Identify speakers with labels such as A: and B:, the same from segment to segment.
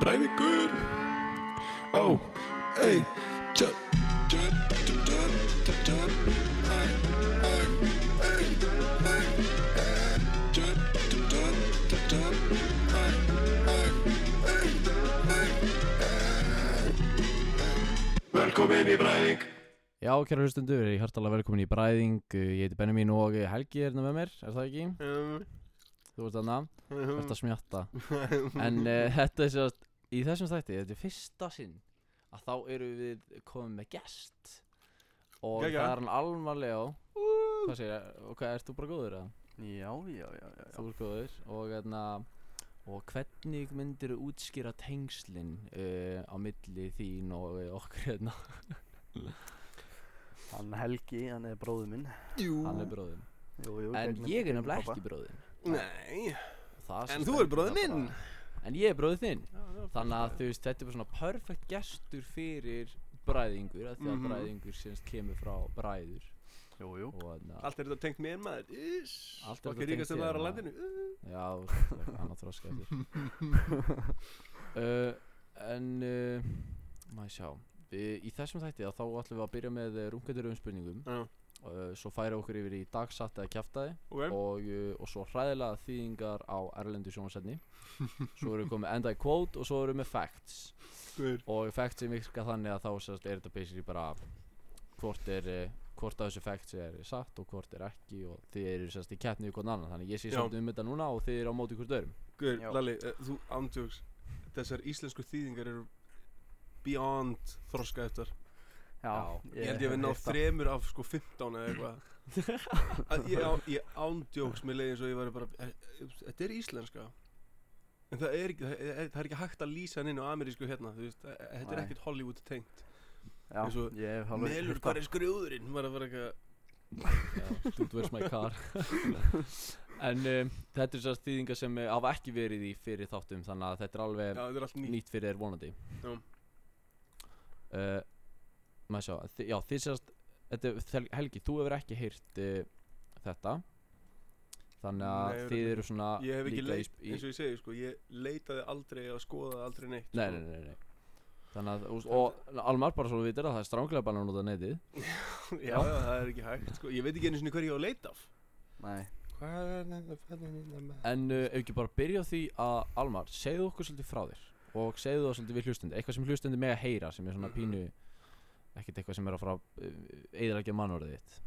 A: Bræðingur Á Ei Tjö Tjö Tjö Tjö Tjö Tjö Ei Ei Ei Ei Ei Tjö Tjö Tjö Tjö Tjö Ei Ei Ei Ei Ei Velkomin í Bræðing
B: Já, kæra hlustundur, ég er hjartalega velkomin í Bræðing uh, Ég heiti Benjamin og Helgi er hérna með mér, er það ekki? Þú ert þarna,
C: Mm.
B: ert að smjatta En uh, þetta er sérst, í þessum þætti, þetta er fyrsta sinn að þá eru við komin með gest Og
C: Geggjað.
B: það er hann Alma Leo Hvað segir ég, og hvað, ert þú bara góður eða?
C: Já, já, já, já, já.
B: Þú ert góður og hérna Og hvernig myndir þú útskýra tengslin uh, á milli þín og uh, okkur hérna?
C: Hann Helgi, hann er bróður minn
D: Jú
B: Hann er bróðin.
C: jú, jú,
B: En
C: gegnum-
B: ég er
C: gegnum
B: nefnilega
C: pabba.
B: ekki bróðin.
D: Nei
B: Það
D: En
B: sem
D: þú
B: stendur
D: ert bróðir
B: það
D: minn.
B: bara. En ég er bróðið þinn Þannig að þú veist, þetta er bara svona perfekt gestur fyrir bræðingur af Því að
D: Mhm.
B: bræðingur semst kemur frá bræður
C: Jú, jú
B: Og þannig að
D: Allt er þetta tengt mér maður Ís
B: Allt er þetta
D: Okkar
B: tengt
D: ríkast
B: þér,
D: að maður á
B: maður.
D: landinu
B: Já, hann að þroska eftir uh, En uh, Má ég sjá Við, Í þessum þætti að þá ætlum við að byrja með rungendur um spurningum
D: Já.
B: uh, Svo færa okkur yfir í dagsatt eða kjaftaði
D: Ok
B: og, uh, og svo hræðilega þýðingar á erlendu sjónasefni Svo erum við komið enda í quote og svo erum við með facts
D: Guður
B: Og facts sem virka þannig að þá sérst, er þetta basically bara hvort er eh, hvort að þessu facts er satt og hvort er ekki og þið eru sérst í keppni við hvort annan þannig að ég sé
D: Já.
B: svolítið um þetta núna og þið eru á móti hvort öðrum
D: Guður,
C: Já.
D: Lalli, eh, þú ándjóks Þessar íslensku þýðingar eru beyond þroska eftir
C: Já, hérna.
D: Ég held ég við ná þremur af sko 15 eða eitthvað Að Ég, á- ég ándjóks með leiðin svo ég væri bara eh, eh, Þetta er íslenska En það er, ekki, það, er, það er ekki hægt að lýsa hann inn á amerísku hérna þú veist, eh, eh, Þetta er
C: Nei.
D: ekkert Hollywood tengt
C: Já,
D: eins og
C: ég hef alveg
D: Melur,
C: heyrt
D: hvað
C: það.
D: er skrjóðurinn? Maður er bara ekki að
B: Já, dude where's my car En um, þetta er sérst þýðingar sem eh, hafa ekki verið í fyrir þáttum þannig að þetta er alveg
D: Já, þetta er allt nýtt
B: Eh, nýtt fyrir þér vonandi
D: Já.
B: uh, maður sjá þi, já þið sérst þetta, er- Þel- Helgi þú hefur ekki heyrt uh, þetta þannig að
D: Nei, ég
B: þið
D: reyndar-
B: eru svona
D: Ég hef ekki
B: líka í
D: leit,
B: sp- í,
D: eins og ég segi sko, ég leitaði aldrei og skoðaði aldrei neitt sko.
B: nei, nei, nei, nei. þannig að og, og almar bara svo við vitir að það er stránglega bara að nota netið
D: sko. Já, já, það er ekki hægt sko, ég veit ekki einu sinni hverju ég á að leita af
C: Nei,
D: Hvað er þetta fæðin minna með?
B: en uh, ef ekki bara byrja á því að almar segðu okkur svolítið frá þér og segðu það svolítið við hlustundi eitthvað sem hlustundi með að heyra sem er svona
D: Mhm.
B: pínu ekkert eitthvað sem er að fara að eðalegja mannvörðið þitt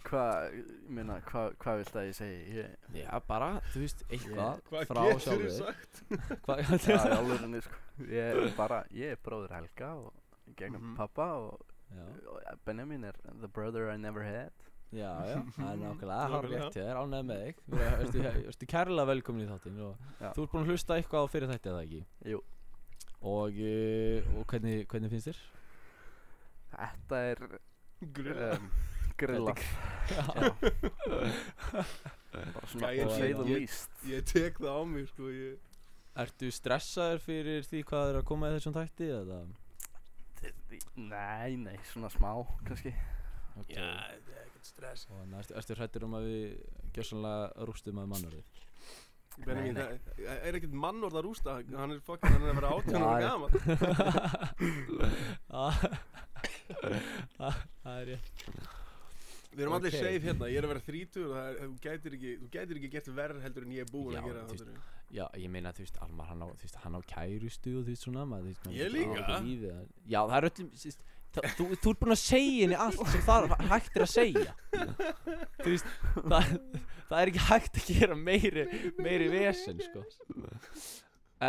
C: hvað, ég meina, hvað hva vilt að ég segi? Ég,
B: Já, bara, þú veist, eitthvað
D: Hvað
B: frá
D: getur
B: sjálfur
D: þið
B: þér.
D: sagt?
B: Hvað
C: já,
B: getur
C: ég alveg henni, sko Ég er bara, ég er bróður Helga og gegnum
D: Mhm.
C: pappa og,
B: Já,
C: og Benjamin er the brother I never had
B: já, já, það er nákvæmlega hár
D: Nákvæmlega.
B: rétt hjá þér, ánægð með þig. Þú ertu, ertu kærlega velkomin í þáttinn og
C: Já.
B: þú ert búin að hlusta eitthvað á fyrir þetta eða ekki?
C: Jú.
B: Og, uh, og hvernig, hvernig finnst þér?
C: Þetta er
D: Grilla
C: um, grilla Já. Bara svona,
D: Gæinn
C: to say
D: ég-
C: the
D: ég-
C: least
D: Ég tek það á mig sko, ég
B: Ertu stressaður fyrir því hvað er að koma í þessum tætti eða?
C: Nei, nei, svona smá, kannski
B: Okay.
D: þetta er ekkert stress
B: Og þannig, ertu, ertu hrættur um að við gjössanlega rústum að mannverðið?
D: Benjamin,
C: Nei,
D: það það er ekkert mannorð að rústa Hann er fokkin, hann er að vera átján og
B: Já,
D: gaman
B: Ah, Það er rétt.
D: Við erum allir
B: Ok.
D: safe hérna, ég er að vera þrítur og það er, þú gætir ekki, þú gætir ekki gert verð heldur en ég er búin
B: Já,
D: að gera
B: þú
D: það heldur
B: Já, ég meina, þú veist, Almar, hann á, þú veist, hann á kærustu og þú veist svona, maður, þú veist, maður
D: Ég
B: getur
D: líka.
B: átt lífið að- Já, það er öllum, þú veist, það, þú, þú ert búin að segja henni allt sem það er hægt er að segja. þú veist, það, það er ekki hægt að gera meiri, meiri vesen, sko.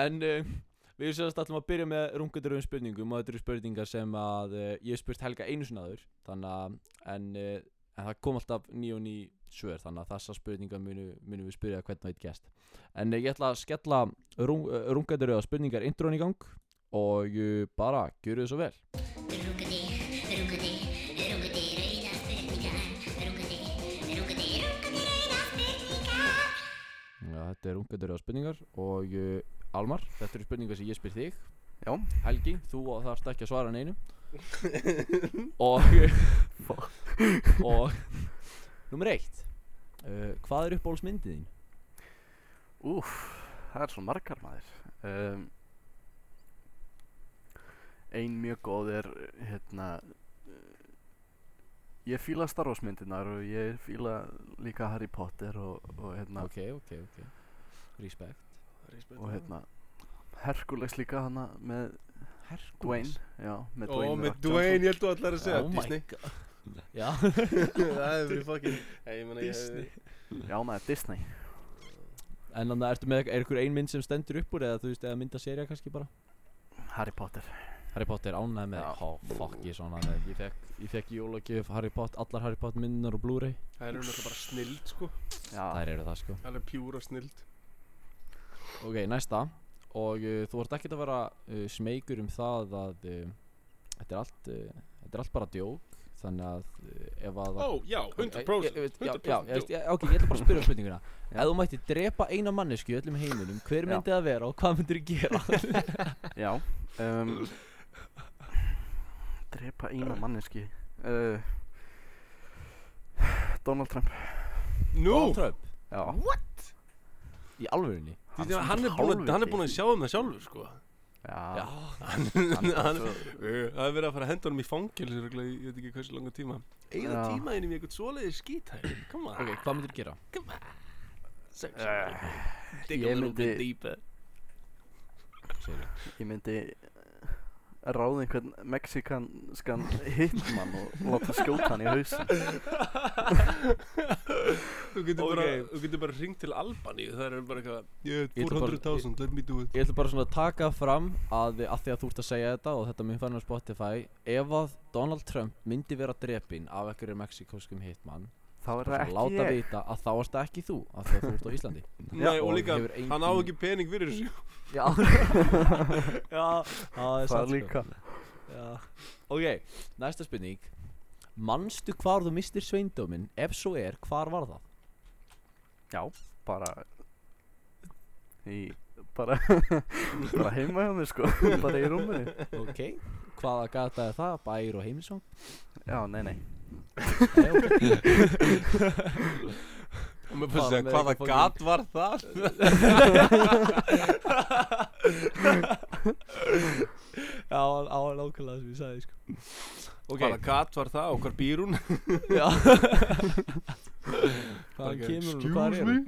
B: En um, við sérst allum að byrja með rungundur um spurningum og þetta eru spurningar sem að uh, ég hef spurt Helga einu sinna aður, þannig að, en, uh, en það kom alltaf ný og ný svör, þannig að þessa spurningar munum munu við spyrja hvern veit gest. En eh, ég ætla að skella rung, rungandur eða spurningar intrón í gang og eh, bara, gjöru þið svo vel.
E: Rungandi, rungandi, rungandi rauðar spurningar Rungandi, rungandi, rungandi rauðar spurningar
B: Já, þetta er rungandur eða spurningar og uh, Almar, þetta eru spurningar sem ég spyr þig.
C: Já.
B: Helgi, þú þarfst ekki að svara neinu. og...
C: Fuck.
B: og... eh, Númer eitt. Uh, hvað er uppbólsmyndið þín?
C: Úf, það er svo margar maður um, Ein mjög góð er hérna eh, Ég fíla Star Wars myndinar og ég fíla líka Harry Potter og, og hérna
B: Ok, ok, ok Respect
C: og hérna Herkules líka hana með
B: Herkules
C: Dwayne já,
D: Ó,
C: með
D: með
C: Dwayne, The Rock Johnson.
D: Dwayne, ég held þú allar að segja
B: Oh my
D: Disney
B: god Já
D: Það hefur verið fucking Nei, ég meina, ég
B: Disney.
D: hefði
C: já maður Disney
B: En þannig að ertu með Er ykkur ein mynd sem stendur upp úr Eða þú veist Eða myndaserja kannski bara
C: Harry Potter
B: Harry Potter ánæði með
C: Já.
B: Há, fuck, ég er svo ánæði með Ég fekk, ég fekk jólagjöf Harry Potter Allar Harry Potter myndunar og Blu-ray
D: Það er náttúrulega bara snild, sko
C: já,
B: Þær eru það sko
D: Það er pjúra snild
B: Ok, næsta Og uh, þú ert ekkert að vera uh, smeykur um það að uh, þetta, er allt, uh, þetta er allt bara djók Þannig að uh, ef að
D: Ó, já,
B: Ég- ég
D: 100%
B: veit- já,
D: 100%
B: já, ég veist, ég- Ok, ég ætla bara að spyrja um spurninguna
C: Já.
B: Ef þú mætti drepa eina mannesku í öllum heiminum Hver
C: Já.
B: myndi það vera og hvað myndir þú gera?
C: já um, drepa eina manneski uh, Donald Trump
D: Nú,
B: Donald Trump
C: já
B: Í alvörunni
D: því að hann er búinn að- hann er búinn að sjá um það sjálfur, sko
C: já,
D: Hann-
C: bara
D: hann-
C: svo-
D: Uh, Það er verið að fara að henda honum í fangil Ég veit ekki hversu langa tíma Eða
C: Já.
D: tímaðinum í eitthvað svoleiði skítæði Come on,
B: Ok, hvað myndir þú gera?
D: come on Sex
C: Eh,
D: Dig a
C: ég
D: little bit
C: myndi-
D: deeper
B: Segirðu.
C: ég myndi eh, ráða einhvern mexikanskan hitmann og láta skjóta hann í hausin
D: Þú getur
B: Ok.
D: bara, þú getur bara ringt til Albaníu Það er bara eitthvað yeah,
B: Ég ætla bara-
D: 400.000, let me do it
B: Ég ætla bara svona að taka fram að að því að þú ert að segja þetta og þetta mun fann á Spotify ef að Donald Trump myndi vera drepinn af einhverju mexikóskum hitmann
C: þá er
B: bara svona
C: það ekki
B: láta
C: ég
B: vita að þá erst það ekki þú af því að þú ert á Íslandi
D: Nei, og
B: og
D: líka,
B: hefur engin-
D: hann á ekki pening fyrir þessu
B: Já Já, það er
C: það
B: satt
C: er líka
B: sko Já. Ok, næsta spurning Manstu hvar þú mistir sveindóminn? Ef svo er, hvar var það?
C: Já, bara í, bara bara heima hjá mér sko bara í rúminu
B: Ok, hvaða gata er það? Bær og heimilsóng?
C: Já, nei, nei
B: Nei, ok
D: Og maður
B: Bara
D: bara segja,
B: með
D: hvaða
B: eitthvað
D: gat var það?
B: Já, á að nákvæmlega sem ég sagði sko Ok,
D: Hvaða gat var það og hvar býr hún?
B: Já
D: Bara
B: Hvaðan
D: ekki,
B: kemur hún og hvar er hún?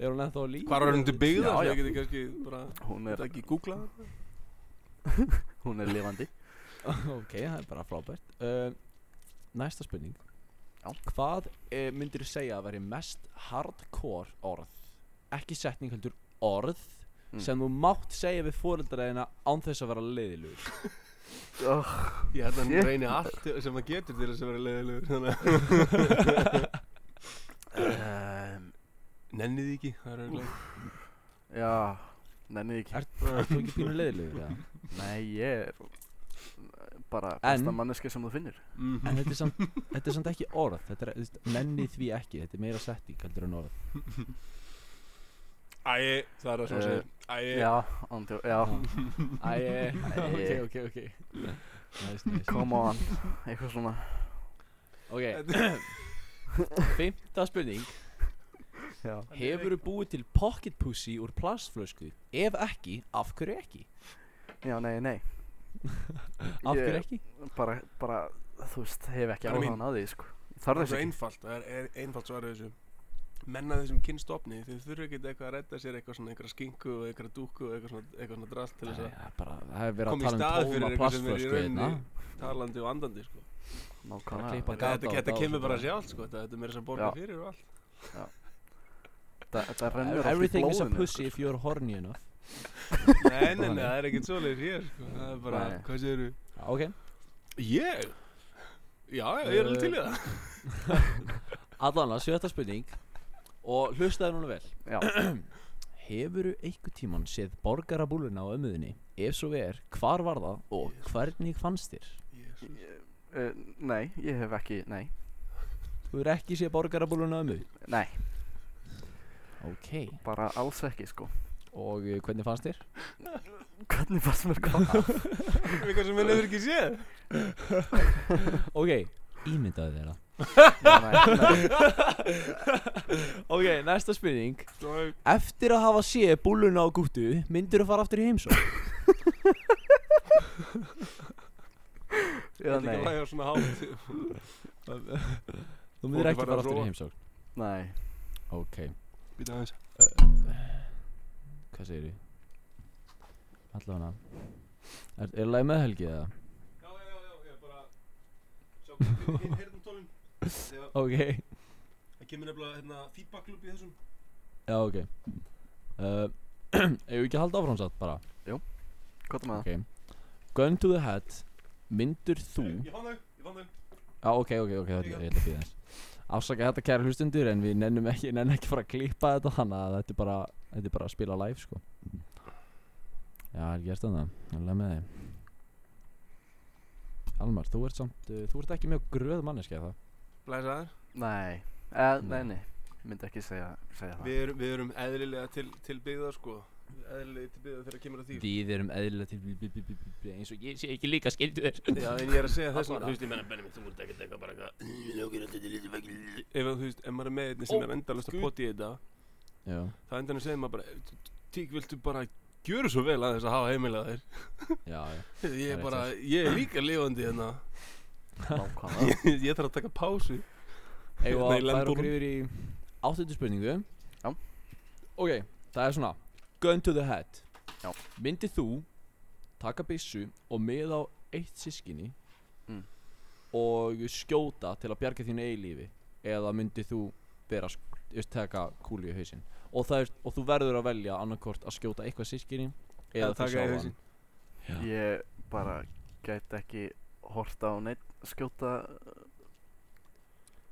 B: Er hún ennþá líf?
D: Hvar var hún til byggða?
C: Já,
D: Svo
C: já.
D: ég geti kannski bara,
C: Hún
D: er
C: er,
D: ekki googlað það?
C: hún er lifandi
B: Ok, það er bara frábært uh, Næsta spurning
C: Já.
B: Hvað uh, myndir þú segja að veri mest hardcore orð Ekki setning heldur orð
C: Mm.
B: sem þú mátt segja við fóreldraðina án þess að vera leiðilugur
C: oh,
D: Ég held að hann
C: Shit.
D: reyni allt sem hann getur til þess að vera leiðilegur Þannig að
C: um,
B: Ehm.
D: nenni því ekki, það er auðvitað
C: Já, nenni því ekki
B: Er- Þú ekki pínu leiðilugur eða?
C: Nei, ég er bara besta
B: En-
C: manneski sem þú finnir
D: Mhm.
B: En þetta er, samt, þetta er samt ekki orð Þetta er, þú veist, nenni því ekki Þetta er meira setting heldur en orð
D: Æi, það er það sem að segja Æi,
C: Já, andjó, já,
B: Æ, eh, ok,
C: Æ. eh.
B: ok, ok Nice, nice
C: come on Eitthvað svona
B: Ok, fymta spurning
C: Já,
B: Hefur þú búið til pocket pussy úr plastflösku? Ef ekki, af hverju ekki?
C: já nei, nei
B: Af
C: Ég-
B: hverju ekki?
C: Bara, bara, þú veist, hef ekki
D: Bara mín.
C: áhugaðan að því sko
D: það
C: Þarf
D: er
C: þess
D: svo
C: ekki
D: einfalt, það er er einfalt svarið þessu Menna þessum kynstofni, þið þurfa ekki eitthvað að redda sér eitthvað svona einhverja skinku og einhverja dúku og eitthvað svona, eitthvað svona drast til
B: Nei,
D: þess
B: Það
D: að
B: er bara, það hefur verið
D: koma í
B: að
D: stað
B: tala um
D: fyrir
B: tóma
D: eitthvað sem er í
B: plastflösku hérna
D: rauninni talandi og andandi sko.
B: Bara
C: Nákvæmlega
B: klippa
D: þetta,
B: gata
D: þetta,
B: á
D: þetta
B: þetta
D: kemur
B: og
D: bara
B: bara-
D: sjálf sko. þetta, þetta er meira sem borga
C: Já.
D: fyrir og allt
C: Þa- Þetta rennur allt í
B: Everything is a
C: blóðinu, sko.
B: pussy if you're horny enough
D: Nei, nei, nei, það er ekkert svoleiðis hér sko. það er bara,
C: Nei.
D: hvað séu
B: Já, Ok,
D: Ég? Já, ég er alveg til í það
B: allan að sjötta spurning Og hlustaði núna vel
C: Já,
B: Hefurðu einhver tíman séð borgarabúluna á ömmuðinni? Ef svo er, hvar var það og hvernig fannst þér?
D: Jesus.
C: Uh, nei, ég hef ekki, nei,
B: Þú er ekki séð borgarabúluna á ömmu?
C: nei,
B: Ok,
C: bara alls ekki sko
B: og eh, hvernig fannst þér?
C: Hvernig fannst mér hvað?
D: Eitthvað sem henni hefur ekki séð
B: Ok, ímyndaði þér það
C: Nei, nei.
B: Ok, næsta spurning Eftir að hafa séð búluna á gúttu Myndir þú fara aftur í
D: Ég
B: heimsók?
C: Eða
D: ætla ekki að
C: nei,
D: lægja svona hátt
B: Þú myndir
D: Fólk fara
B: ekki
D: að
B: fara aftur í
D: prófa.
B: heimsók
C: nei
B: Ok,
D: Býta aðeins
B: hvað segir þú? Alla hana Er, er læg með helgi eða?
D: Já, já, já, já, ég bara Sjá, hérna hérna tónin Það
B: Ok
D: kemur nefnilega hérna feedback loop í þessum
B: Já, ok uh, Eigum við ekki að halda áfram satt bara
C: Hvað er maður?
B: Ok Gun to the head Myndir þú
D: Ég fann þau, ég fann þau
B: Já, ok, ok, ok, það er eitthvað fyrir þess Afsaka þetta kæra hlustundur en við nennum ekki, nennum ekki fara að klippa þetta Þannig að þetta er bara, þetta er bara að spila live, sko Já, er gert þannig að Lega með þig Almar, þú ert samt, uh, þú ert ekki mjög gröð manneskja er það
D: Blæsaðar
C: Nei, eh, nei,
B: Nei.
C: nei Ég myndi ekki segja, segja það
D: Við erum, við erum eðlilega til, til byggða sko Eðlilega til byggða þegar kemur að því
B: Við erum eðlilega til bí- bí- bí- bí- bí- bí- eins og ég sé ekki líka skildu þér
D: Já, en ég er að segja þess
B: Bara.
D: vegna Þú veist, ég menna Benjamin, þú ert ekkert eitthvað bara eitthvað Ég lókir alltaf til lítið veginn Ef að, þú veist, ef maður er með einni sem er endalast að poti í þetta
B: Já,
D: Það endanum segir maður bara Tík, viltu bara gjöru svo vel að þess að hafa heimilað þér
B: já, já
D: Ég
B: Það
D: er
B: er
D: bara, ég er líka lifandi hérna
C: Nákvæmlega
D: Ég þarf að taka pásu
B: Eða
D: Nei,
B: það er
D: lendunum.
B: okkur yfir Hérna í áttundu spurningu
C: Já.
B: Ok, það er svona Gun to the head
C: Já.
B: Myndið þú taka byssu og með á eitt sískinni
C: Mm.
B: og skjóta til að bjarga þínu eilífi eða myndið þú vera að sk- þú veist, taka kúlu í hausinn og, það er, og þú verður að velja annarkort að skjóta eitthvað sískinni eða þú sjá hann
C: Ég bara gæti ekki horta á neitt skjóta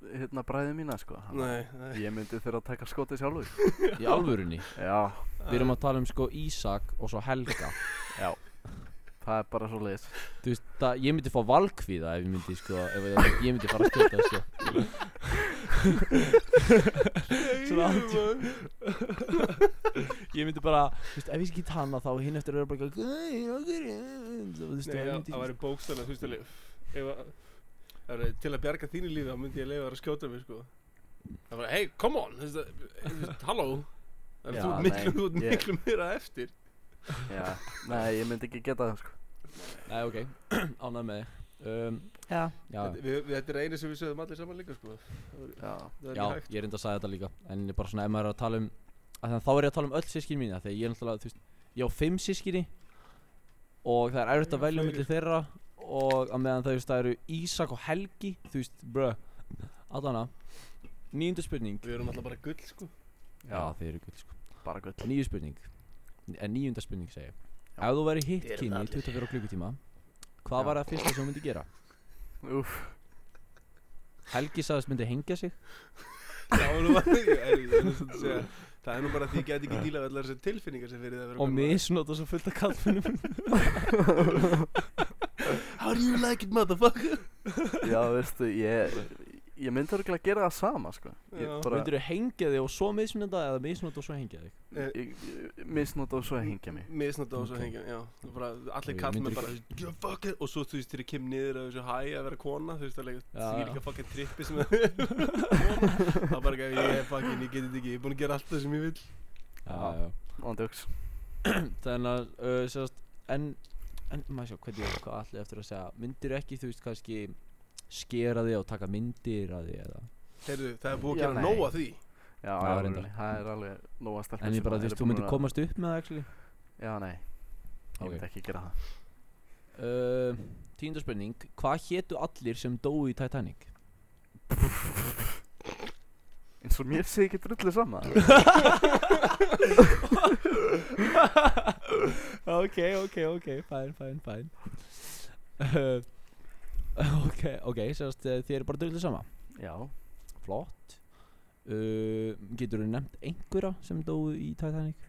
C: uh, hérna bræði mína sko Þannig
D: Nei,
C: að
D: nei
C: Ég myndi þurfa að taka skotið sjálfur
B: í alvörunni
C: Já,
B: við erum að tala um sko Ísak og svo Helga
C: já Það er bara svo leis
B: þú veist, það, ég myndi fá valkvíða ef ég myndi, sko, ef ég, ég myndi fara að sko. skjóta þessu Svona andjó Ég myndi bara, þú veist, ef ég skýt hana þá hinn eftir að vera bara eitthvað, "Æ, okkur, æ, æ", þú
D: Nei,
B: veist, ég
D: já,
B: myndi
D: það væri bókstæðlega, þú veist alveg ef að- það væri Til að bjarga þínu lífi, þá myndi ég leifa þér að skjóta mig, sko Það var, hey, come on, þú veist, að- þú veist, halló Það er
B: Já,
D: þú ert
C: nei,
D: miklu, þú ert
C: ég-
D: miklu meira eftir
C: Já, nei, ég myndi ekki geta það sko
B: Nei, ok, ánægð með þig um, Já Já,
D: Þetta- við- við- Þetta er einu sem við sögðum allir saman líka, sko Það var-
C: Já,
D: það er
B: já
D: ekki hægt. sko.
B: ég reyndi að sagði þetta líka En ég bara svona, ef maður er að tala um að þannig, Þá er ég að tala um öll sískinni mína Þegar ég er náttúrulega, þú veist, ég á fimm sískinni Og það er erfitt að
D: Já,
B: velja
D: fleiri.
B: milli þeirra Og að meðan þau, þú veist, það eru Ísak og Helgi Þú veist, brö Allana Nýjunda spurning
D: Við erum alltaf bara gull, sko
B: Já, þeir eru gull, sko
C: bara gull
B: Nýju spurning En nýjunda spurning segi ég.
C: Já.
B: Ef þú væri hitt
D: Þið eruð
B: kynni
D: allir.
B: 24 klukkutíma Hvað
C: Já.
B: var það fyrsta sem þú myndi gera?
C: Úf,
B: Helgi sagðist myndi hengja sig
D: Já, nú var- ég- ég- ég- ég- ég- ég- segja, Það er nú bara að því ég get ekki dílað allar þessar tilfinningar sem fyrir það að vera
B: Og
D: gamall.
B: misnóta svo fullt af kallmennum
D: How do you like it, motherfucker?
C: já veistu, ég Ég myndi þurfa að gera það sama sko Ég
D: Já.
C: bara,
B: Myndir þú hengja þig og svo misnunda eða misnunda og svo hengja þig?
D: Eh,
C: ég, ég misnóta og svo að hengja mig
D: misnátt á þessu
B: Ok.
D: okay. hengja, já Og bara, allir
B: Og ég
D: kall
B: myndir
D: með bara "Yeah, fuck it", og svo þú veist þegar ég kem niður af þessu hæ að vera kona þú veist alveg
B: Já,
D: því
B: já.
D: líka fucking trippi sem það er kona það er bara ekki að ég er fucking ég geti þetta ekki ég er búin að gera allt það sem ég vil
C: Já.
B: já.
C: Ándjóks
B: Þannig að, uh, sérst, en, en, maður sjá, hvernig, ég- hvað allir eftir að segja, myndir ekki, þú veist, kannski skera þig og taka myndir að þig eða
D: heyrðu það er búin að
C: Já,
D: gera
C: nei.
D: nóg að því
C: Já,
B: Já,
C: já,
B: reyndar.
C: það er alveg nóga stelpur
B: En ég
C: sem
B: bara,
C: að
B: þú
C: eru
B: veist, þú
C: búnar
B: myndir
C: að-
B: komast upp með það, actually
C: Já, nei, ég myndi ekki gera það
B: uh, Tínda spurning, hvað hétu allir sem dóu í Titanic?
C: eins og mér sé ekki drullið sama
B: ok, ok, ok, fæn, fæn, fæn uh, Ok, ok, sérst, eh, þið eru bara drullið sama
C: já,
B: flott uh, getur þú nefnt einhverja sem dóu í Titanic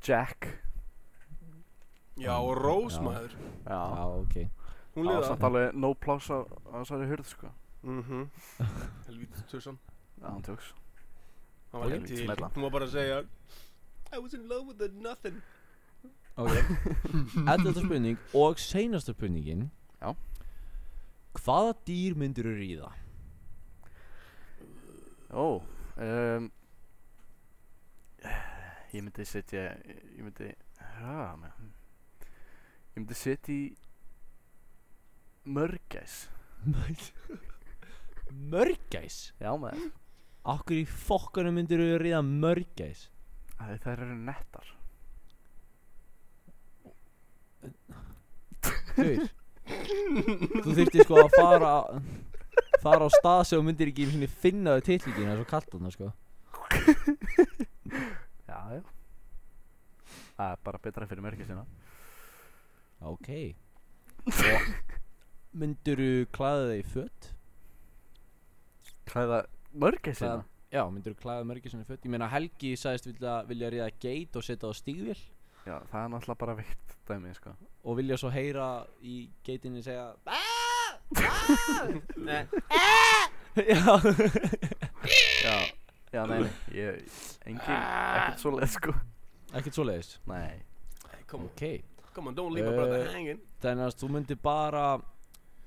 C: Jack
D: já og Rose
B: Já.
D: maður
C: já,
B: já ok
D: hún
C: það var
D: liða
C: samt alveg no plás á, á þessari hurð sko
D: mhm helvítið tjóðsan
C: já, hann tjóks
D: hann var
C: Ok.
D: ekki til
C: Smella.
D: hún var bara að segja I was in love with the nothing
B: ok 11. spurning og seinasta spurningin
C: Já.
B: Hvaða dýr myndir þú ríða?
C: Ó um, Ég myndi setja Ég myndi ha, með- Ég myndi setja í Mörgæs
B: Mörgæs?
C: Já maður
B: Akkur í fokkanu myndir þú ríða mörgæs?
C: Æ, Þær eru nettar
B: Gaur Þú þyrfti sko að fara Fara á stað sem þú myndir ekki einu sinni finna þau titlíkina Svo kallt hann sko
C: Já já Það er bara betra fyrir mörgæsina
B: Ok Og myndir þú klæða þig í fött?
C: Klæða mörgæsina?
B: Já, myndir þú klæða mörgæsina í fött? Ég meina Helgi sagðist vilja, vilja ríða geit og setja á stígvél
C: Já það er náttúrulega bara veikt dæmi sko
B: Og vilja svo heyra í geitinni segja Nei Já
C: Já Já nei, nei Ég Engin Ekkert svo leið sko
B: Ekkert svoleiðis
C: Nei
D: Hey, come on,
B: Ok
D: come on, don't leave my brother
B: Eh,
D: hanging
B: Þannig að þú myndir bara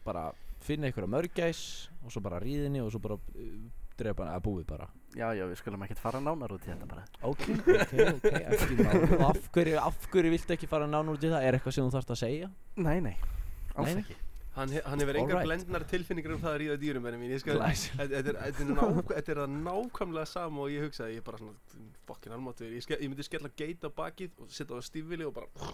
B: bara finna einhverja mörgæs og svo bara ríðinni og svo bara uh, drepa hann að búið bara
C: Já já við skulum ekkert fara nánar út í þetta bara
B: Ok, ok, ok ekki mál. Og af hverju, af hverju viltu ekki fara nánar út í það? Er eitthvað sem þú þarft að segja?
C: Nei nei Alls
B: Nei, nei.
C: ekki
D: Hann, he- hann hefur engar
B: Alright.
D: blendnar tilfinningar um það að ríða dýrum verið mín Ég skal,
B: Glæs.
D: þetta þetta er, þetta er, nák- þetta er það nákvæmlega sama og ég hugsaði Ég er bara svona, fokkin almáttur ég, ske- ég myndi skella geit á bakið og setja það á stífili og bara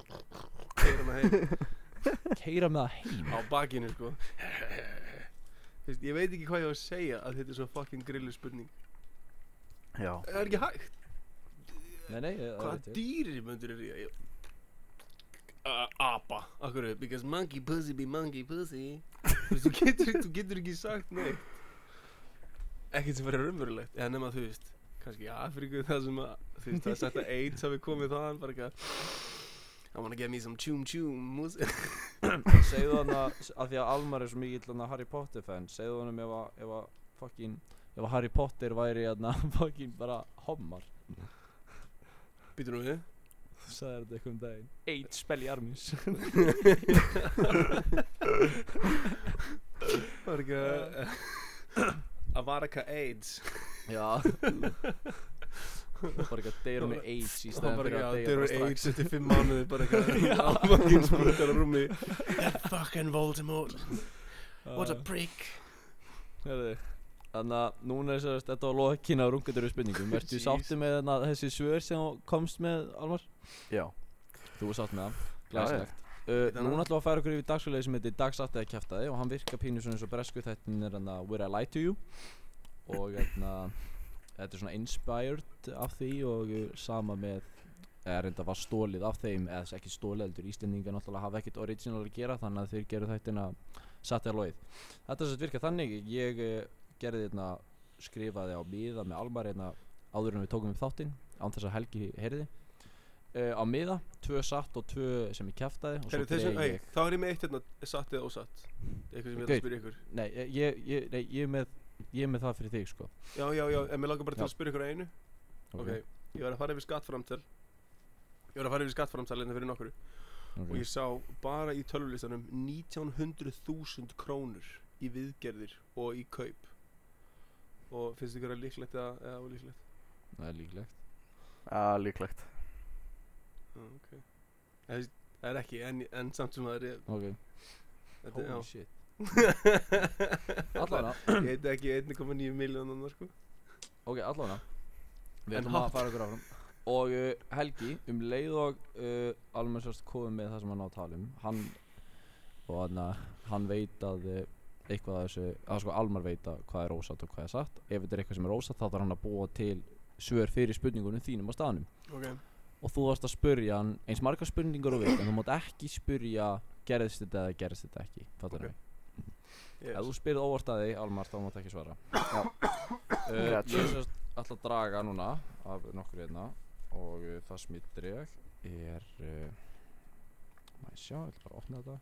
D: Keira hana heim
B: Keira með það heim
D: á bakinu sko Þú veist, Ég veit ekki hvað ég á að segja að þetta er svo fokkin grillu spurning
C: Já
D: Það er ekki hægt,
B: Nei, nei, eh, það
D: hvaða
B: veit ég.
D: dýri myndir er ég Uh, apa, akkur, because monkey pussy be monkey pussy Þú veist, þú getur, þú getur ekki sagt neitt Ekkert sem verður raunverulegt, eða nema þú veist Kannski í Afríku það sem að Þú veist, það er sagt að AIDS hafi komið þaðan bara eitthvað I wanna get me some chum chum mus-
B: Segðu hann að, að því að Almar er svo mikill hann að Harry Potter fan Segðu hann ef að, ef að fucking ef að Harry Potter væri hann að fucking bara hommar
D: Býtur nú við
B: Þú sagði þetta eitthvað um daginn Eitt spell í armis
D: Bara eitthvað Avaraka AIDS
B: Já bara ekki að deyra hún í AIDS í
D: Það
B: stæðan
D: bara
B: fyrir
D: eitthvað,
B: að
D: þeir
B: deyra
D: eru
B: bara strax
D: AIDS eftir fimm mánuði bara eitthvað á fucking spítar á rúmi Fucking Voldemort, what a prick Ah,
B: Hérðu Þannig að núna er þess að þetta var lokin á rungatöru spurningum Ertu
D: Jeez.
B: sáttu með þarna þessi svör sem þú komst með Almar?
C: Já
B: Þú er sátt með það,
C: Já, já.
B: glæsilegt Uh,
D: Þetta er
B: núna
D: annað.
B: ætlum við að færa okkur yfir dagsfélagi sem heitir Dagsatt eða kjæftaði og hann virkar pínu svona eins og bresku þættin er hann að Where I Lie To You og hérna þetta er svona inspired af því og uh, sama með eða reynda var stólið af þeim eða þess ekki stólið heldur Íslendingar náttúrulega hafa ekkert original að gera þannig að þeir gerðu þættina satt eða loið þetta er svo virkað þannig ég uh, gerði hérna skrifaði á miða með Almar hérna áður en við tókum upp þáttinn án þess að Helgi heyrði uh, á miða, tvö satt og tvö sem ég kæftaði og svo
D: Heyrðu, þessu,
B: dreg
D: ei,
B: ég
D: þá er ég með eitt hérna, satt eða ósatt Eitthvað sem ég ætla
B: Gaut.
D: að spyrja ykkur
B: nei, eh, ég, ég, nei, ég, er með, ég er með það fyrir þig sko
D: Já, já, já, en mér langar bara til
B: Já.
D: að spyrja ykkur að einu Ok, ég var að fara yfir skattframtal Ég var að fara yfir skattframtal hérna fyrir nokkru
B: ok.
D: Og ég sá bara í tölvulistanum 1900.000 krónur í viðgerðir og í kaup Og finnst ykkur að líklegt eða, eða ólíklegt?
B: það er líklegt
C: Já líklegt
D: Já, ok Það er- það er ekki, en, en samt sem það er
B: ok,
D: þetta,
B: holy
D: já.
B: shit allavega,
D: Ég heit ekki 1,9 miljónan sko.
B: ok, allavega við
D: En
B: ætlum að
D: hátt.
B: fara okkur áfram og uh, Helgi, um leið og uh, almenn sérst komið með það sem hann á að tala um hann og hann, hann veit að uh, eitthvað af þessu, að sko Almar veit að hvað er ósatt og hvað er satt ef þetta er eitthvað sem er ósatt þá þarf hann að búa til svör fyrir spurningunum þínum á staðanum
D: okay.
B: og þú varst að spurja hann eins margar spurningar og við en þú mátt ekki spurja gerðist þetta eða gerðist þetta ekki fattar
D: Ok.
B: okay.
D: yes.
B: ef þú spyrð óvart að því Almar þá mátt ekki svara uh, ég
C: Gotcha.
B: er sérst alltaf að draga núna af nokkur hérna og uh, það sem ég dreg er uh, maður sjá, ég ætla bara að opna þetta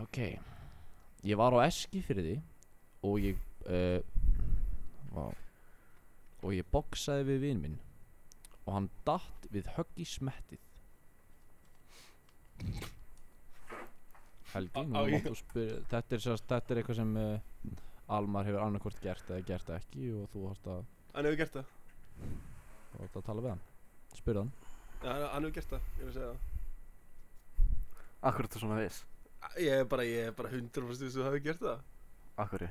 B: ok ég var á eski fyrir því og ég uh, vá, og ég boksaði við vin minn og hann datt við högg í smettið Helgi,
D: Á-
B: nú
D: á ég-
B: máttu spyrja þetta er, sem sagt- þetta er eitthvað sem uh, Almar hefur annarkvort gert eða gert ekki og þú átt að,
D: Hann hefur gert það
B: þú átt að tala við hann spyrja hann
D: Já, hann hann hefur gert það, ég vil segja það
C: Akkur er þetta svona viss?
D: Æ, Ég er bara, ég er bara 100% þess um að þú hafi gert það
C: Akkur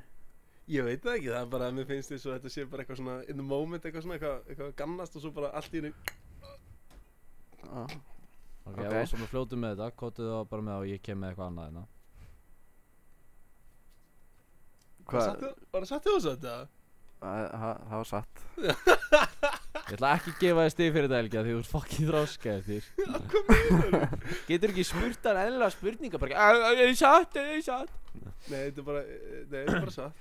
D: Ég veit það ekki, það er bara að mér finnst þess að þetta sé bara eitthvað svona in the moment, eitthvað svona, eitthvað, eitthvað gannast og svo bara allt í hennu
C: er
B: Ok,
C: Ok.
B: okay. og svona fljótu með þetta, kótið það bara með og ég kem með eitthvað annað hérna
C: Hvað?
D: Bara satt þið á þessu þetta?
C: Það það- það var satt
B: Ég ætla ekki að gefa þér stig fyrir þetta Helgi af því þú ert fucking þráska eftir Getur ekki spurt hann ennilega spurninga bara ekki, "Æ, æ, Ég satt, ég satt
D: Nei, þetta er bara, nei, þetta er bara satt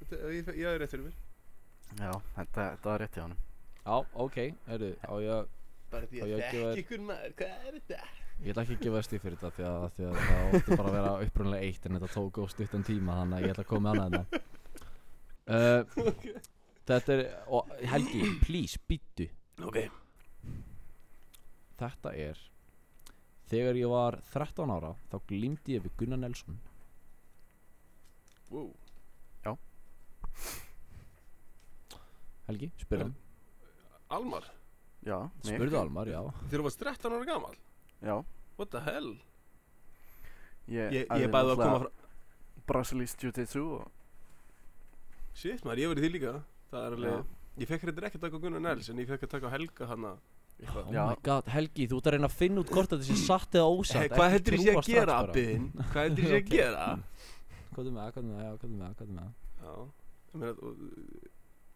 D: Þetta, ég, ég hafði rétt fyrir mér
C: Já, þetta, þetta var rétt hjá honum
B: Já, ok, heyrðu, á ég að
D: Bara því
B: Og
D: að
B: ég
D: þekki
B: gefa-
D: ykkur maður, hvað er þetta?
B: Ég ætla ekki að gefa þér stíð fyrir þetta því að, því að það ótti bara að vera upprunnilega eitt en þetta tók og stuttan tíma þannig að ég ætla að koma með annað þetta uh, Þetta er, og Helgi, please, býttu
D: Ok
B: Þetta er Þegar ég var 13 ára þá glimti ég við Gunnar Nelson
D: wow.
B: Helgi, spyrðu hann,
D: Almar,
C: Já, mig
B: spurðu Almar, já
D: þegar þú varst 13 ára gamal
C: Já,
D: What the hell?
C: ég
D: Ég, ég bæði að koma frá
C: Brasilist Jiu-Jitsu og
D: Shit maður, ég hef verið því líka Það er alveg
C: Já.
D: Ég fekk reyndar ekki að taka Gunnar Nels En ég fekk að taka Helga hana
B: Oh
C: Já.
B: my god, Helgi, þú ert að reyna að finna út hvort þetta sé satt eða ósatt
D: Eh, Hvað heldur ég sé að gera abbiðin? Hvað heldur ég sé að
B: Ok.
D: gera?
B: Hvað er með það, hvað er með það, hvað er með það, hvað er með það
D: Já Ég meina og,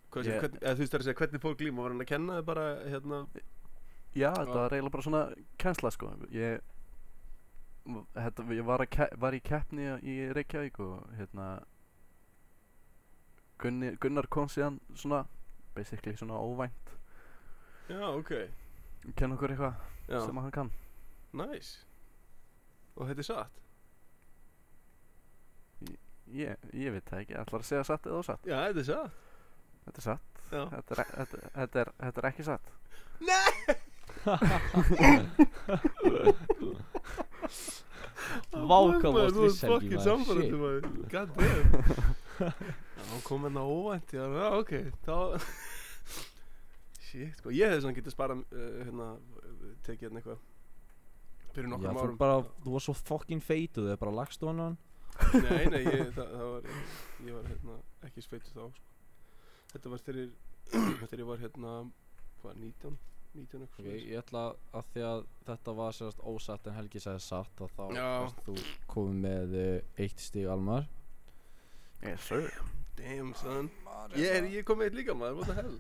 D: Hvað sé,
C: Ég-
D: yeah. hvern, eða þú veist það er að segja Hvernig fór glíma? Var hann að kenna þið bara hérna
C: Já, þetta
D: Já.
C: var eiginlega bara svona kænsla sko Ég, m- þetta, ég var, að ke- var í keppni í Reykjavík og hérna Gunni, Gunnar kom síðan svona basically svona óvænt
D: Já, ok
C: kenna okkur eitthvað
D: Já,
C: sem hann kann
D: nice Og þetta er satt
C: ég, ég veit það ekki, ætlar að segja satt eða ósatt
D: Já, þetta er satt
C: Þetta er satt,
D: Já
C: þetta er, e- þetta, þetta er, þetta er ekki satt
B: Vá, hvað
D: maður,
B: varst
D: þú ert
B: viss Helgi
D: fucking
B: maður
D: samfærandi
B: Shit.
D: maður God damn Já, hann kom hérna óvænt Já, já, ok, þá Shit, sko, ég hefði svona getið sparað uh, hérna, uh, tekið hérna eitthvað fyrir
B: Já,
D: nokkrum
B: þú
D: árum
B: bara, þú var svo fucking feitu þau bara lagst þú hann
D: Nei, nei, ég, það, það var ég var hérna ekki sveitur þá sko. Þetta var þegar þegar ég var hérna hvað, 19? 19 eitthvað
B: Ok,
D: svoleiðis.
B: ég ætla að því að þetta var sérst ósatt en Helgi sagði satt og þá
D: Já.
B: varst þú komið með eh, eitt stig Almar
C: Yes sir
D: Damn
B: Ah,
D: son Ég, er, ég kom með eitt líka maður, what the hell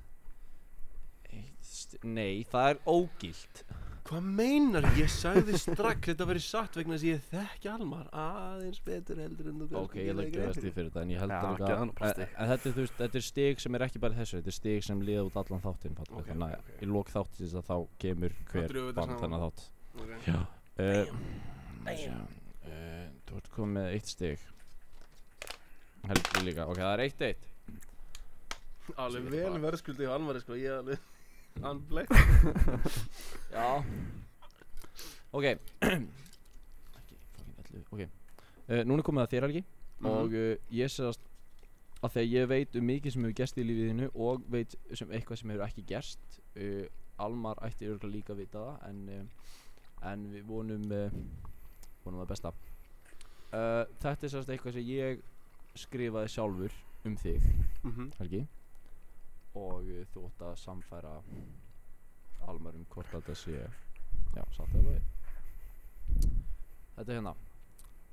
B: Eitt stig, nei, það er ógilt
D: Hvað meinar? Ég sagði strax þetta verið satt vegna þess að ég þekki Almar aðeins betur heldur en þú kannski
B: Ok, ég ætla
D: gerir
B: ekki að
D: grein
B: stig fyrir þetta en ég held
C: Já,
B: að
C: gefðu honum bara
B: en,
C: stig.
B: en þetta, er, þú veist, þetta er stig sem er ekki bara í þessu þetta er stig sem liða út allan þáttinn Páll,
D: Ok,
B: þannig
D: ok,
B: að
D: ok.
B: í lók þáttins að þá kemur hver
D: drögum við þetta
B: bann
D: saman.
B: þennan þátt
D: fyrir. Ok.
B: Já uh, uh, Þú ert komið með eitt stig Helgi líka, ok, það er eitt eitt
D: Alveg
B: Ég ætla
D: vel
B: bara-
D: verðskuldið hjá Almar sko, ég er alveg Hann bleitt
B: Já Ok Ekki, fucking ellu Ok uh, Núna er komið að þér Helgi
D: Mhm.
B: Og uh, ég segast að þegar ég veit um mikið sem hefur gerst í lífið þínu og veit sem eitthvað sem hefur ekki gerst uh, Almar ætti örgulega líka að vita það en, uh, en við vonum uh, vonum það besta uh, Þetta er segast eitthvað sem ég skrifaði sjálfur um þig
D: Mhm.
B: Helgi og uh, þú ótt að samfæra Almar um hvort að þetta sé já, satt eða lagi Þetta er hérna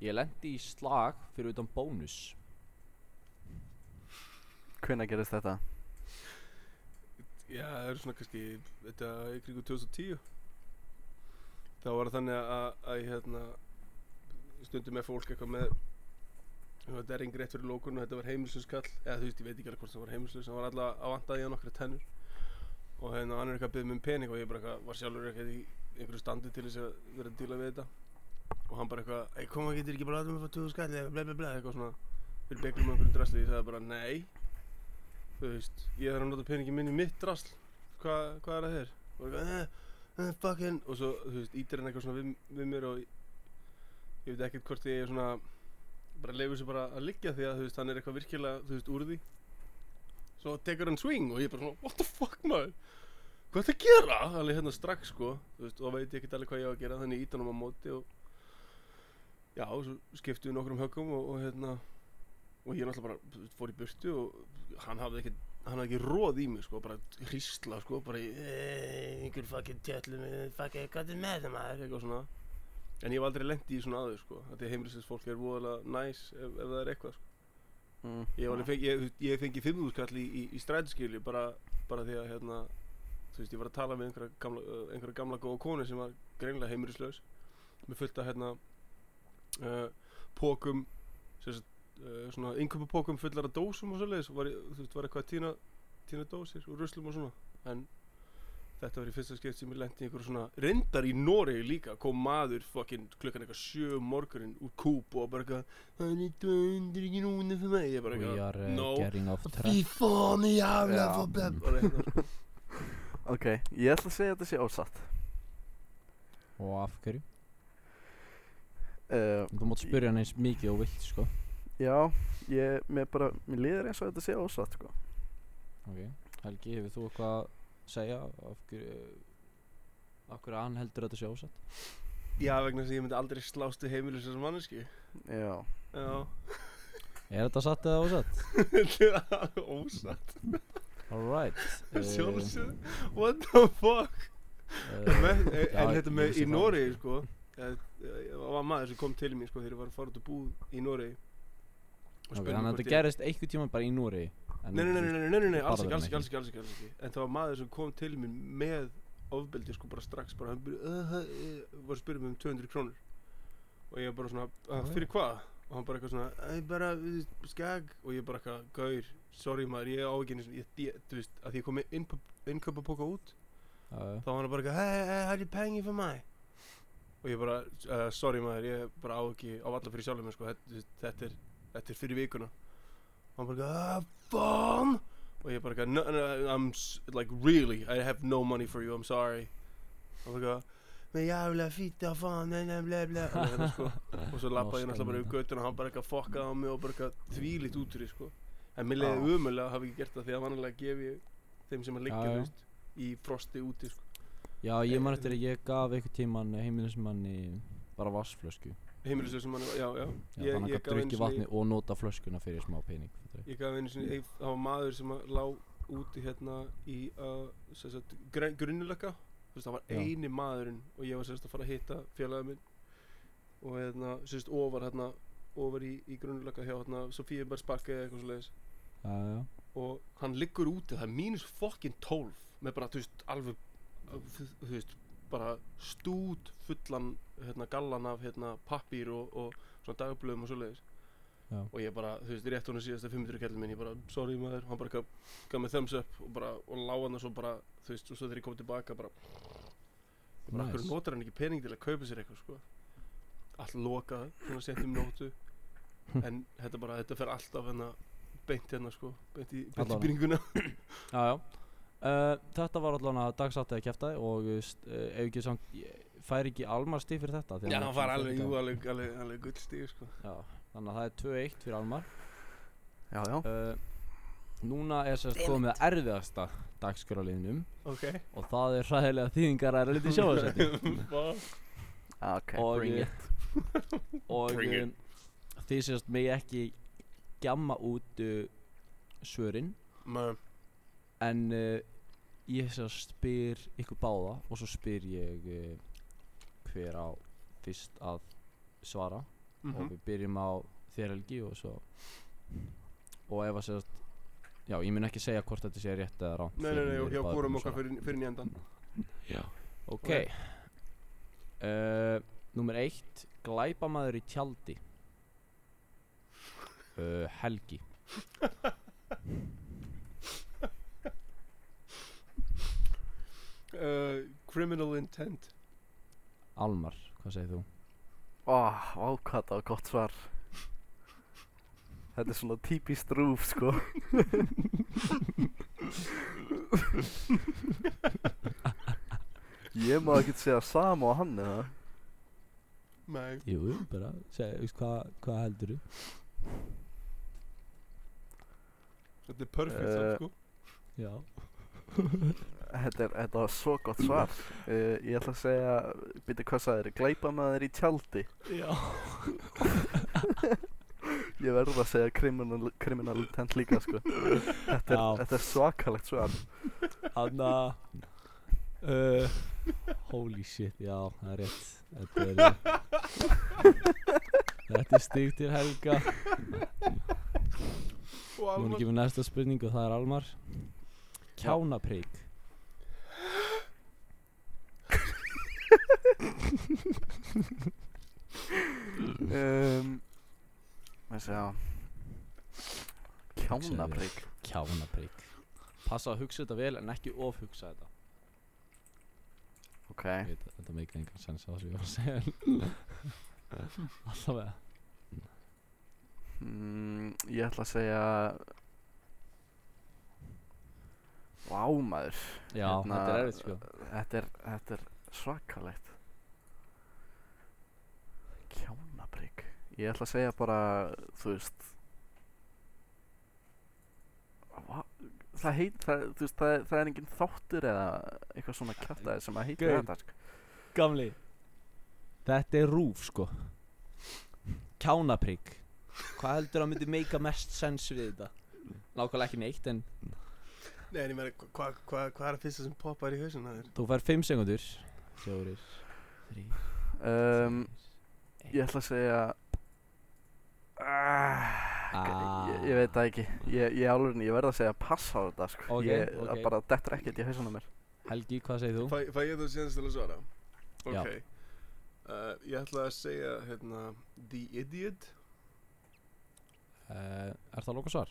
B: Ég lendi í slag fyrir utan bónus
C: Hvenær gerist þetta?
D: Já, það eru svona kannski, þetta í kringu 2010 Þá var það þannig að, að ég hérna stundum með fólk eitthvað með og þetta er yngri rétt fyrir lókun og þetta var heimilsuskall eða þú veist, ég veit ekki alveg hvort það var heimilsus hann var alltaf að vantaði hann nokkra tennur og hérna hann er eitthvað að byggja mig um pening og ég bara eitthvað var sjálfur eitthvað í einhverju standi til þess að vera að díla við þetta og hann bara eitthvað, ei koma getur ekki bara að láta mig fá 20 skall eða bla bla bla eitthvað svona fyrir bygglum og einhverju drasli, ég sagði bara nei þú veist, ég þarf að nota peningin minn í mitt drasl Hva, hvað er það þér? og eitthvað, eh, eh, fucking og svo, þú veist, ítir hann eitthvað svona við, við mér og ég veit ekkert hvort ég er svona bara leifur sér bara að liggja því að þú veist hann er eitthvað virkilega þú veist úr því svo tekur hann swing og ég er bara svona what the fuck maður hvað ertu að gera alveg hérna strax sko þú veist og veit ég ekkert alveg hvað ég á að gera þannig ítan um á móti og já svo skiptum við nokkrum höggum og, og hérna og ég náttúrulega bara þú veist, fór í burtu og hann hafði ekkert hann hafði ekki róð í mig sko, bara hrísla sko, bara í, "Eh, einhver fucking tjöllu með, fucking, hvað er með það maður, eitthvað svona. En ég hef aldrei lent í svona aður sko, að því heimlisins fólk er voðalega næs ef, ef það er eitthvað sko.
C: Mm.
D: Ég hef alveg fengið, ég, ég hef fengið fimmúðskall í, í, í stræðskilju bara, bara því að hérna, þú veist, ég var að tala með einhverja gamla, eh, einhverja gamla góða konu sem var greinlega heimilislaus, með fullt af hérna, uh, pókum, sem sagt, uh, svona yngöpupókum fullar af dósum og svoleiðis, og var, ég- þú veist, var eitthvað að týna týna dósir og ruslum og svona en þetta var í fyrsta skipt sem ég lendi í einhverju svona reyndar í Noregi líka kom maður fokkin klukkan eitthvað sjö um morgunin úr kúp og bara eitthvað það er 200 ekki núna fyrir mig ég bara
B: We
D: eitthvað
B: are uh,
D: no.
B: getting off track
D: fy fóni jafna
C: Já.
D: fór beb og hérna sko.
C: Ok, ég ætla að segja að þetta sé ósatt
B: Og af hverju?
C: uh,
B: Þú mátt spyrja hann eins mikið og vilt sko
C: Já, ég, mér bara, mér líður eins og þetta sé ósatt sko.
B: Ok Helgi, hefur þú eitthvað að segja af hverju Af hverju hann heldur þetta sé ósatt?
D: já vegna þess að ég myndi aldrei slástu heimilis þessum manneski
C: Já,
D: já
B: Er þetta satt eða ósatt?
D: þetta er ósatt
B: Alright
D: sjálfsög what the fuck
B: Eh,
D: Men, en
B: Já,
D: þetta
B: ég
D: með
B: vissi
D: í
B: það
D: Noregi
B: ekki.
D: sko Það var maður sem kom til mér sko þegar ég var að fara út að búð í Noregi og
B: Ok,
D: spurði mig
B: þannig að þetta
D: hvort ég-
B: gerist einhvern tíma bara í Núri
D: Nei, nei, nei, nei, nei, nei, nei, nei, alls ekki, alls ekki,
B: Barðaði
D: alls
B: hann
D: ekki, alls ekki, alls ekki En það var maður sem kom til mér með ofbeldi sko bara strax bara, hann byrja, uh, uh, var að spyrja mig um 200 krónur og ég bara svona, uh, fyrir hvað? og hann bara eitthvað svona, æ, bara, uh, skag og ég bara eitthvað, gaur, sorry maður ég á ekki, einu sinni- ég, ég, þú veist, að því ég kom með innkaupa póka út
B: nei
D: þá var hann bara eitthvað, hei, hei, hætti pengi fyrir mig og ég bara, uh, sorry maður ég bara á ekki, á alla fyrir sjálfum mér, sko, þetta, þetta, er, þetta er fyrir vikuna og hann bara eitthvað, "Ah, fun og ég bara eitthvað, no, no, I'm s- like really, I have no money for you, I'm sorry og hann bara eitthvað með jáfnilega fýta að fann, nei, nei, ble, ble og, hérna, sko. og svo lappa ég náttúrulega bara upp göttuna og hann bara eitthvað fokkaði á mig og bara eitthvað þvílitt út úr því, sko en mér leiði
C: Já.
D: umulega að hafa ekki gert það því að vanalega gef ég þeim sem að liggja,
B: Já, já.
D: þú veist, í frosti úti, sko
B: Já, ég
D: Eh,
B: man eftir að ég gaf einhvern tíman heimilismanni bara vassflösku
D: heimilislega sem hann, já, já,
B: Já, þannig að hann
D: gaf
B: gaf drukki
D: einu sinni-
B: vatni og nota flöskuna fyrir smá pening fattarðu?
D: ég gaf einu sinni, ég- það var maður sem að lá úti hérna í uh, sem sagt, gr grunnilega þú veist, það var
B: Já.
D: eini maðurinn og ég var sérst að fara að hitta félagið minn og hérna, sérst, ofar hérna ofar í, í grunnilega hjá hérna Sofíu bara sparkaði eitthvað svo leiðis
B: Já, já
D: og hann liggur úti, það er mínus fokkin 12 með bara, þú veist, alveg þú þú veist, bara stút fullan, hérna, gallan af hérna, pappír og, og svona dagblöðum og svoleiðis
B: Já.
D: og ég bara, þú veist, rétt honum síðasta 500 kallin minn, ég bara, sorry maður, hann bara gaf, gaf mig thumbs up og bara, og lá hann og svo bara, þú veist, og svo þegar ég kom tilbaka bara, ég bara, nice.
B: Nice.
D: notar hann ekki pening til að kaupa sér eitthvað, sko allt lokað, svona sent um nótu en þetta bara, þetta fer alltaf hérna beint hérna, sko, beint í, beint í
B: Allavega.
D: byrninguna
B: Já, já. Uh, þetta var allan að dagsatt eða kæftæði og uh, st- uh, ef ekki samt, ég- fær ekki Almar stig fyrir þetta? því
D: Já,
B: hann
D: hann var alveg, jú,
B: Já,
D: alveg, alveg, alveg gullstíð, sko.
B: þannig að það er 2-1 fyrir Almar.
C: já, já
B: Uh, núna er sérst komið að erfiðasta dagskraliðinum
D: Ok.
B: og það er hræðilega þýðingar að liti sjáðarsætti.
C: Ah, Ok,
B: Og,
C: bring
B: eh,
C: it
B: og
D: Bring it.
B: um, þið sérst megi ekki gjamma út uh, svörin
D: Mæm.
B: en uh, ég sérst spyr ykkur báða og svo spyr ég uh, hver á fyrst að svara
D: Mhm. Mm-hmm.
B: og við byrjum á þér Helgi og svo og ef að sérst já ég mun ekki segja hvort þetta sé rétt eða rámt
D: Nei, nei, nei, og hjá hvorum okkar fyrir, fyrir nýjandan.
B: ok uh, nummer eitt glæpamaður í tjaldi uh, Helgi
D: Uh, criminal intent.
B: Almar hvað segir þú
C: Ó, vá, hvað það var gott svar Þetta er svona típist rúf, sko Ég má ekkert segja sama á hann, eða
D: Nei
B: Jú, jú, bara, segja, veist, hvað, hvað heldur þú?
D: Þetta er perfect
C: Eh,
D: uh, sko
B: Já
C: Þetta, er, þetta var svo gott svar uh, Ég ætla að segja, byrja hvað sagðir Gleipamaður í tjaldi
B: Já
C: Ég verður að segja criminal, criminal intent líka sko. þetta, er,
B: Já.
C: þetta er svakalegt svar
B: Hanna uh, Holy shit, já, það er rétt Þetta er eh, Þetta er stík til helga
D: Og
B: Nú erum
D: alveg
B: ekki með næsta spurning og það er Almar Kjánapreik
C: um, Þessi já Kjánabrygg
B: Kjánapreik Passa að hugsa þetta vel en ekki ofhugsa þetta
C: Ok
B: Ég veit, að Þetta meikir engan sens á þessu ég var að segja Alltaf eða
C: mm, Ég ætla að segja Vá maður
B: Já, þetta er erfitt sko
C: Þetta er, þetta er svakalegt Kjánabrygg Ég ætla að segja bara Þú veist Va- Það heit, það, þú veist, það, er- það er engin þáttur eða eitthvað svona kjátaði sem að heitir
B: Gaur.
C: þetta sko.
B: Gamli Þetta er rúf sko Kjánaprygg Hvað heldur að myndi meika mest sens við þetta? Nákvæmlega ekki neitt en
D: Nei, en ég meina, hvað hva, hva hvað er að fyrsta sem poppar í hausinn að þér?
B: Þú fær 5 sekundur Fjórir Þrý
C: um, Ég ætla að segja ah,
B: Ah.
C: ég, ég veit það ekki Ég, ég álurinn, ég verð að segja pass á þetta sko.
B: Ok,
C: ég, það
B: ok.
C: bara dettur ekkert í hausunum mér
B: Helgi, hvað segir þú?
D: Fæ, fæ ég þú síðan til að svara?
B: Já.
D: Ok uh, Ég ætla að segja, hérna, The Idiot
B: Uh, er það loka svar?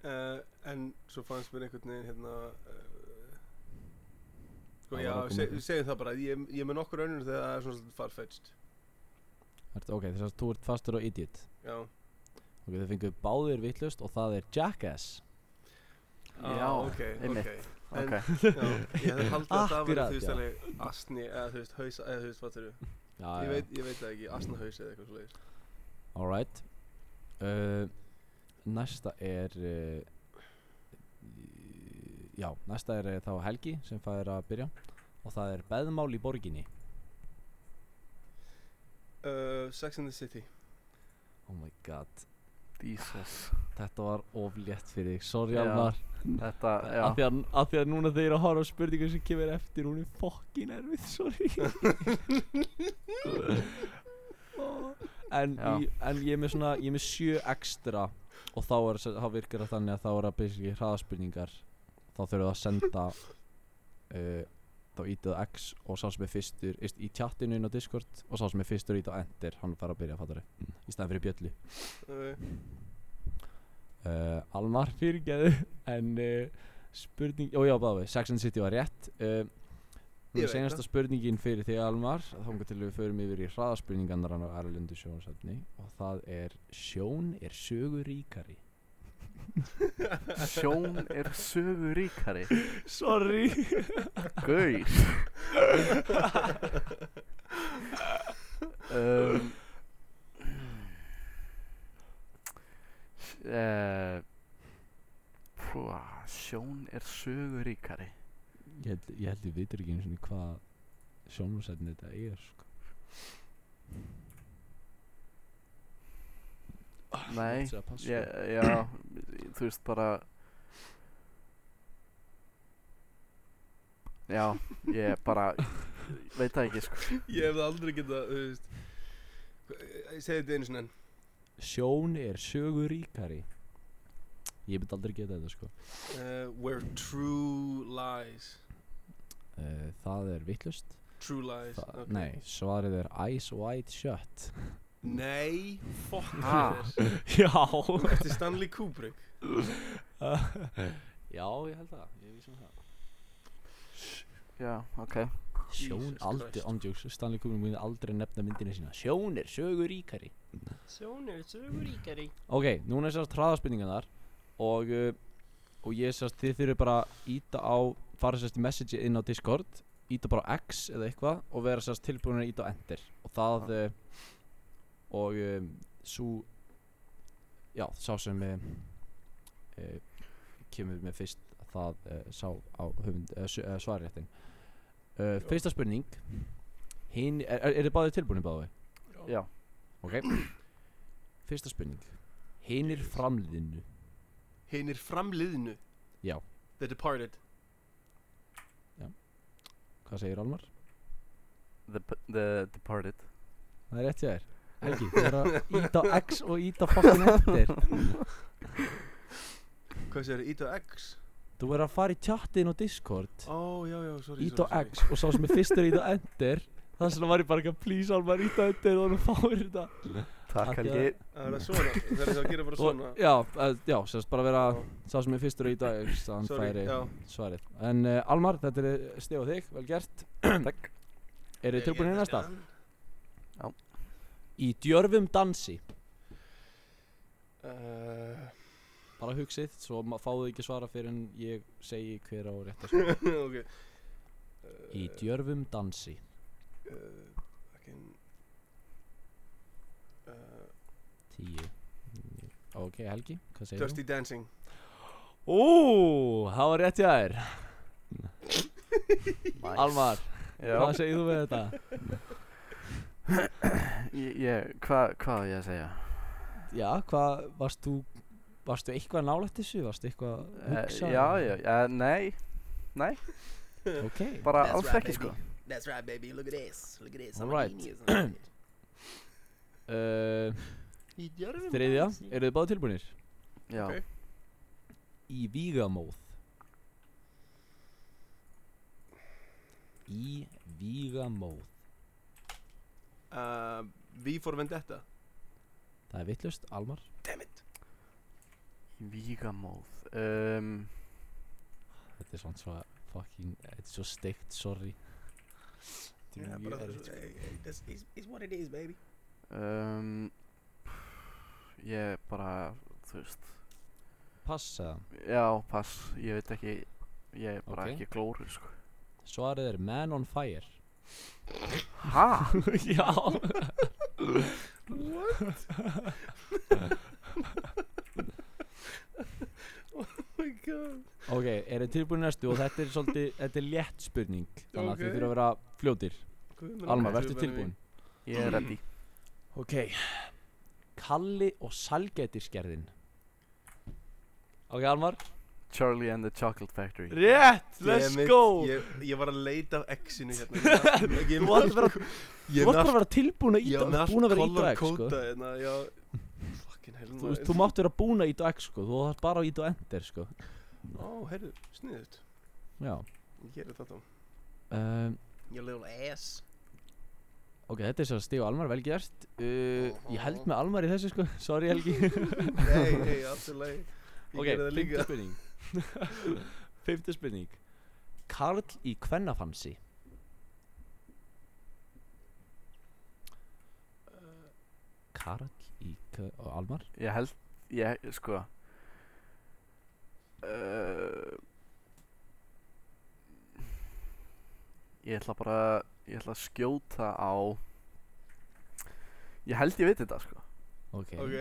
D: uh, En svo fannst mér einhvern veginn, hérna uh, Sko,
B: Það
D: já,
B: var að koma
D: seg,
B: eitthvað.
D: segjum það bara Ég, ég er með nokkur önnur þegar það er svona svolítið farfetched
B: Ertu, ok, þess að þú ert fastur á idiot
D: Já
B: Ok, þið fenguðu báðir vittlust og það er Jackass
D: Ah,
C: Já,
D: ok,
C: einmitt.
D: ok En-
C: okay.
D: Já, ég hefði haldið að það verið,
B: Akkurat,
D: þú veist,
B: já.
D: alveg asni, eða þú veist, hausa, eða þú veist, fattur þú?
B: Ah, Já,
D: Ég veit, ég veit það ekki, asnahaus eða eitthvað svolítið.
B: Alright uh, Næsta er uh, Já, næsta er eh, þá Helgi sem fær að byrja og það er beðmál í borginni
D: Uh, Sex and the City.
B: Oh my god,
C: Jesus
B: þetta var oflétt fyrir þig Sorry
C: Já,
B: Almar,
C: Þetta, já
B: af því, að, af því að núna þeir eru að horfa á spurningu sem kemur eftir hún er fokkin erfið, sorry en,
C: Já.
B: í, en ég er með svona, ég er með sjö ekstra og þá, er, þá virkar það þannig að þá er að basically hraðaspurningar þá þurfum við að senda uh, þá ítið á X og sá sem er fyrstur ist, í tjattinu inn á Discord og sá sem er fyrstur ítið á Enter hann fara að byrja að fatta það í staðan fyrir bjöllu
D: Uh,
B: uh, Almar fyrirgeðu en uh, spurning, ó já báði Sex and the City var rétt uh,
D: Ég
B: Nú
D: veit
B: senast að spurningin fyrir þig Almar þá komum til við förum yfir í hraðaspurningarnar á Erlendu sjónsefni og það er sjón er sögu ríkari
C: Sjón er sögu ríkari
B: Sorry
C: Gauð um, uh, púa, Sjón er sögu ríkari
B: Ég held ég, held ég vitur ekki einu sinni hvað sjónsefni þetta er sko.
C: Nei,
B: Þetta er að passa.
C: Já, já, þú veist bara Já, ég bara veit það ekki sko
D: ég hefði aldrei getað, þú veist, hva- ég segi þetta einu sinni enn.
B: Sjón er sögu ríkari Ég myndi aldrei geta þetta sko
D: Uh, where true lies.
B: uh, Það er vittlust
D: True lies.
B: Þa,
D: ok.
B: Nei, svarið er Ice White Shut
D: Nei, fokk
C: Ha?
D: þér.
B: Já
D: Þetta er Stanley Kubrick.
B: Já, ég held það, ég vísum það
C: Já, ok
B: Sjón
D: Jesus
B: aldrei,
D: Christ.
B: ondjóks, Stanley Kubrick myndi aldrei nefna myndina sína Sjón er sögu ríkari
D: Sjón er söguríkari.
B: Ok, núna er sérst hraðaspurningarnar Og, uh, og ég sérst, þið þurfið bara íta á, fara sérst í message inn á Discord Íta bara á X eða eitthvað og vera sérst tilbúin að íta á Enter Og það, uh, og um, svo já, sá sem uh, uh, kemur með fyrst það uh, sá á höfund, uh, uh, svarréttin uh, fyrsta spurning hinn, er, er, er þið báðið tilbúinni báðið?
C: Já,
B: Ok Fyrsta spurning Hinir framliðinu
D: Hinn er framliðinu
B: Já.
D: The Departed
B: Hvað segir Almar?
C: The, P- the Departed
B: Það er rétt hjá þér Helgi, þú er að íta á X og íta fucking eftir
D: Hvað sér, ít og X?
B: Þú er að fara í chatinn og Discord
D: Ó, já, já, sorry
B: Ít
D: sorry,
B: á
D: sorry.
B: X og sá sem er fyrstur íta enter Það sem var ég bara ekki að please Almar íta enter og hann fáir þetta
C: Takk
B: Takk,
C: Helgi
D: Það er það svona, það er það að gera bara
B: og,
D: svona
B: Já, eh, já, sérst bara vera
D: Já.
B: Sá sem er fyrstur íta X Þann
D: Sorry,
B: færi
D: já.
B: svarið En uh, Almar, þetta er stið á þig, vel gert
C: Takk
B: Eru þið
D: hérna
B: tilbúinir í næsta?
C: Já.
B: Í djörfum dansi
D: Uh,
B: bara hugsið svo ma- fáðu ekki svara fyrir en ég segi hver á rétt að svara
D: ok Eh,
B: í djörfum dansi
D: uh, fucking, uh,
B: 10 níu. ok Helgi, hvað segir
D: Dirty Dancing
B: þú? ó, það var rétt hjá þér
C: nice.
B: Almar,
C: Já,
B: hvað segir þú við þetta?
C: ég, ég, hvað hva á ég að segja?
B: já, hvað, varst þú varstu eitthvað nálægt þessu, varstu eitthvað að
C: Eh,
B: hugsa
C: Já, já, já, nei
B: ok,
C: Bara
F: That's
C: alls
F: right,
C: ekki
F: baby.
C: sko
F: That's right, baby. Look at this. Look at this.
B: All
F: I'm
B: right.
F: a genius. I'm a
B: uh,
F: genius.
B: þriðja eru þið báðu tilbúinir?
C: Já,
D: Ok.
B: í vígamóð í vígamóð
D: uh, V for Vendetta
B: það er vittlust, Almar
D: Damn it
C: Vígamóð um,
B: Þetta er svona svo fucking, þetta er svo steikt, sorry Þetta er
F: Yeah,
B: mjög
F: but
B: erfitt sko.
F: it's, it's, it's what it is, baby.
C: um, Ég bara, þú veist
B: Passa,
C: Já, pass, ég veit ekki Ég er bara
B: Ok.
C: ekki glóru sko
B: svarið er man on fire
C: Ha?
B: Já
D: Oh my god
B: Ok, er þið tilbúin í næstu og þetta er svolítið, þetta er létt spurning Þannig að
D: Ok.
B: þið þurfa að vera fljótir
D: Guð minn
B: Alma,
D: almáttugur,
B: verður
D: Benjamin.
B: tilbúin?
C: Ég er ready
B: Ok Kalli og salgætiskerðin Ok, Almar
C: Charlie and the Chocolate Factory
B: Rétt,
D: Damn it, ég, ég var að leita af X-inu hérna Ég sko-
B: Þú átt að vera,
D: Ég
B: þú átt bara að vera tilbúin að
D: Ég var
B: íta,
D: með
B: búin
D: allt
B: að vera íta
D: color
B: á X sko
D: kóta hérna Já Fucking hell
B: Þú veist, þú mátt vera búin að íta á X sko, þú þarf bara að íta á Enter sko
D: Ó, heyrðu, sniðut
B: Já
D: Ég er þetta
B: um,
F: Your little ass.
B: Ok, þetta er svo Stig og Almar, vel gert uh, Ég held með Almar í þessu sko, sorry Helgi
D: Nei, nei, alltaf leið Ég
B: Ok,
D: gerði það
B: fymti
D: líka
B: spurning Fymti spurning Karl í kvennafansi Karl í kve- og Almar
C: Ég held, ég, sko uh, Ég ætla bara Ég ætla að skjóta á Ég held ég veit þetta, sko
B: Ok,
D: Ok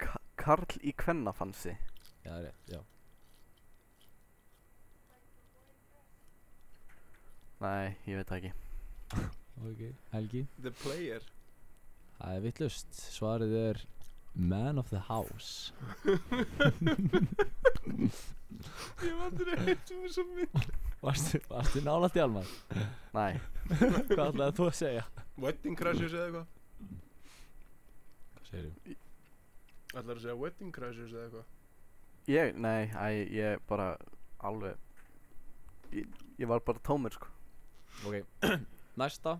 C: Ka Karl í kvennafansi
B: Já, það er rétt, já
C: Nei, ég veit það ekki
B: okay. Helgi
D: The Player
B: Það er vittlust, svarið er Man of the House
D: Ég var aldrei heitt um þessu mynd
B: Varstu, varstu nálætt í Almar?
C: Nei,
B: Hvað ætlaði þú að segja?
D: Wedding Crashers eða eitthvað
B: Hvað segir þú?
D: Ætlar að segja Wedding Crashers eða eitthvað
C: ég, nei, æ, ég bara Alveg Ég, ég var bara tómur, sko
B: Ok, næsta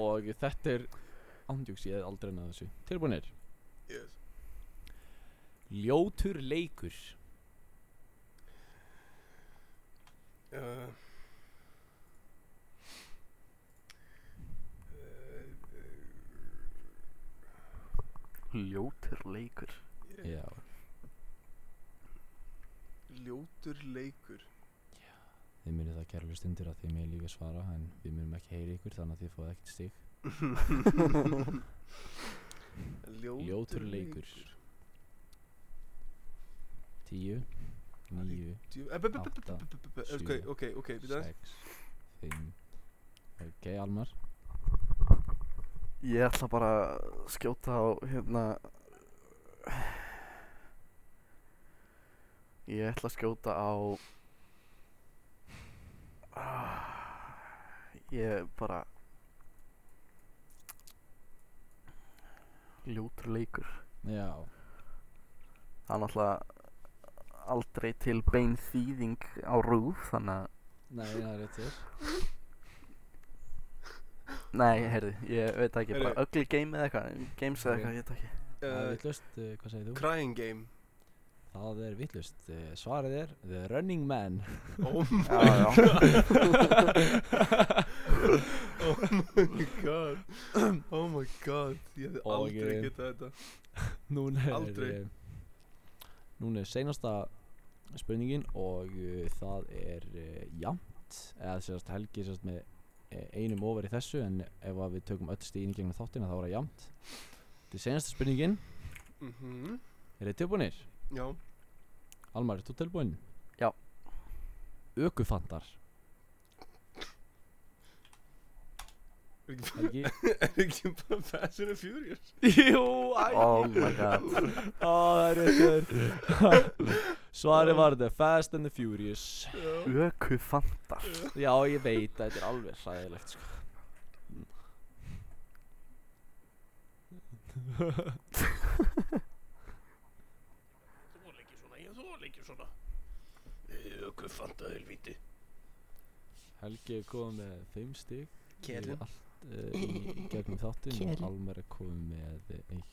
B: Og þetta er Andjúks, ég hef aldrei nefnað þessu Tilbúinir
D: Yes
B: Ljótur leikur
D: uh,
B: Eh,
C: Ljótur leikur
D: eh,
B: Já
D: Ljótur leikur
B: Þið munið það kærlega stundir að þið mér líka svara En við munum ekki heyri ykkur þannig að þið fóðu ekkert stig Ljótur leikur Tíu Níu
D: Eh,
B: Átta,
D: Ok,
B: sjö,
D: ok, ok, við það
B: Sex Fimm Ok, Almar
C: Ég ætla bara að skjóta á hérna Ég ætla að skjóta á Ég bara Ljótur leikur
B: Já
C: Það er náttúrulega aldrei til bein þýðing á rúf Þannig að,
B: Nei, það er réttir
C: nei, heyrðu, ég veit það ekki
D: Heyrðu.
C: Bara ugly game eða eitthvað, games eða
B: Ok.
C: eitthvað, ég veit það ekki
B: Það er
D: uh,
B: vittlust, hvað segir þú?
D: Crying game
B: Það er vittlust, svarið er The Running Man
D: Oh
C: Já, já
D: Oh my god Oh my god Ég hefði
B: Og,
D: aldrei
B: eh,
D: getað þetta
B: Núna er
D: Aldrei.
B: eh, Núna er seinasta spurningin og uh, það er uh, jafnt eða sérst Helgi sérst með eh, einum ofar í þessu en ef að við tökum öll stíðin í gegnum þáttina þá er það jafnt Þetta er seinasta spurningin,
D: Mhm.
B: er þið tilbúinir?
D: Já
B: Almar, er þú tilbúin?
C: Já.
B: Ökufandar
D: Er ekki-
B: Helgi
D: Er ekki bara Fast and the Furious
B: Jú, æ
C: Oh my god
B: það er réttur Svarið var The Fast and the Furious
D: Já
C: Ökufandar
B: Já, ég veit að þetta er alveg hræðilegt sko.
F: þól ekki svona, ég þól ekki svona Ökufanta helvíti
B: Helgi er komið með 5 stík
F: Kjellin
B: allt, uh, í, í gegnum þáttin og Almar er komið með 1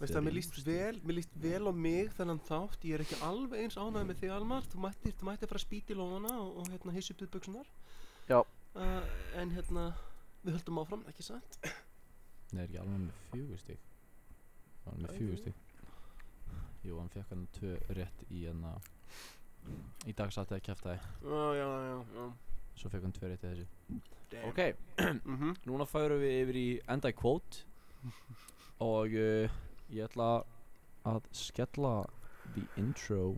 D: Veist það, mér líst vel, mér líst vel á mig þennan þátt, ég er ekki alveg eins ánægð með þig Almar, þú mættir, þú mættir að fara að spýta í lófana og, og hérna hissu upp við buksunar.
C: Já.
D: Uh, en hérna, við höldum áfram, ekki satt?
B: Nei, er ekki Almar með 4 stík
D: Það
B: Hann er með
D: er
B: 4
D: fjögur.
B: stík Jú, hann fekk hann 2 rétt í hann í dag satt eða kæftæði
D: Já, já, já, já.
B: svo fekk hann 2 rétt í þessu
D: Damn.
B: Ok,
D: Mm -hmm.
B: Núna færum við yfir í enda í kvót og uh, ég ætla að skella the intro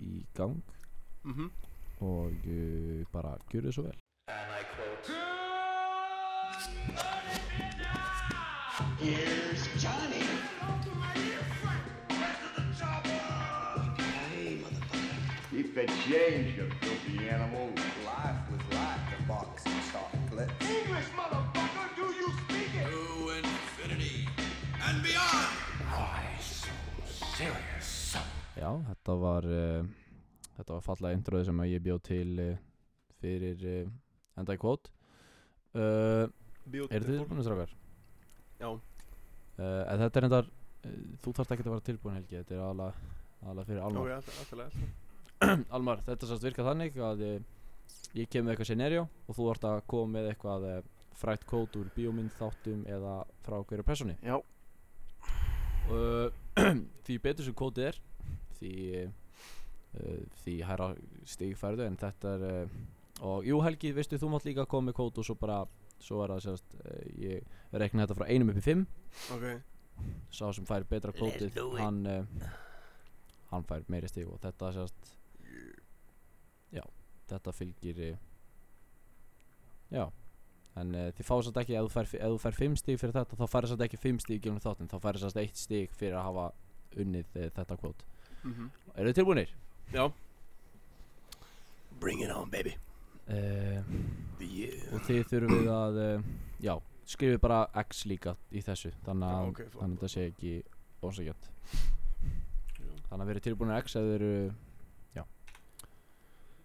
B: í gang
D: Mm -hmm.
B: og uh, bara gjöru þið svo vel
G: Keep the change, you filthy animal. Life was life, the box and soft clip. English, motherfucker, do you speak it? To infinity and beyond. Why so serious?
B: Já, þetta var uh, þetta var fallega introð sem að ég bjóð til uh, fyrir uh, enda í kvót uh, Er þið tilbúinu strákar?
D: Já.
B: Uh, en þetta er endar uh, þú þarft ekki að vera tilbúin Helgi þetta er aðalega aðalega fyrir Almar
D: Ok, alltaf, alltaf, alltaf.
B: Almar, þetta sást virka þannig að eh, ég kem með eitthvað scenario og þú ert að koma með eitthvað eh, frætt kót úr bíómynd, þáttum eða frá hverju persóni
C: Já,
B: uh, Því betur sem kótið er því, uh, því hæra stigfærðu en þetta er uh, og jú Helgi, veistu, þú mátt líka koma með kót og svo bara, svo er það sérst uh, ég reikna þetta frá einum upp í fimm
D: Ok,
B: sá sem fær betra kótið
F: do it.
B: hann uh, hann fær meiri stíg og þetta sérst já, þetta fylgir eh, já en uh, þið fá sérst ekki ef þú fær, ef þú fær fimm stíg fyrir þetta þá fær sérst ekki fimm stíg gilum þáttin þá fær sérst eitt stíg fyrir að hafa unnið uh, þetta kvót
D: mhm.
B: eru þið tilbúinir?
D: Já.
F: Bring it on baby
B: Uh,
F: The year
B: og þið þurfum að uh, já, skrifið bara x líka í þessu þannig að
D: Ok, flott,
B: þannig að þetta sé ekki ósækjönd þannig að verið tilbúinir að x eða eru já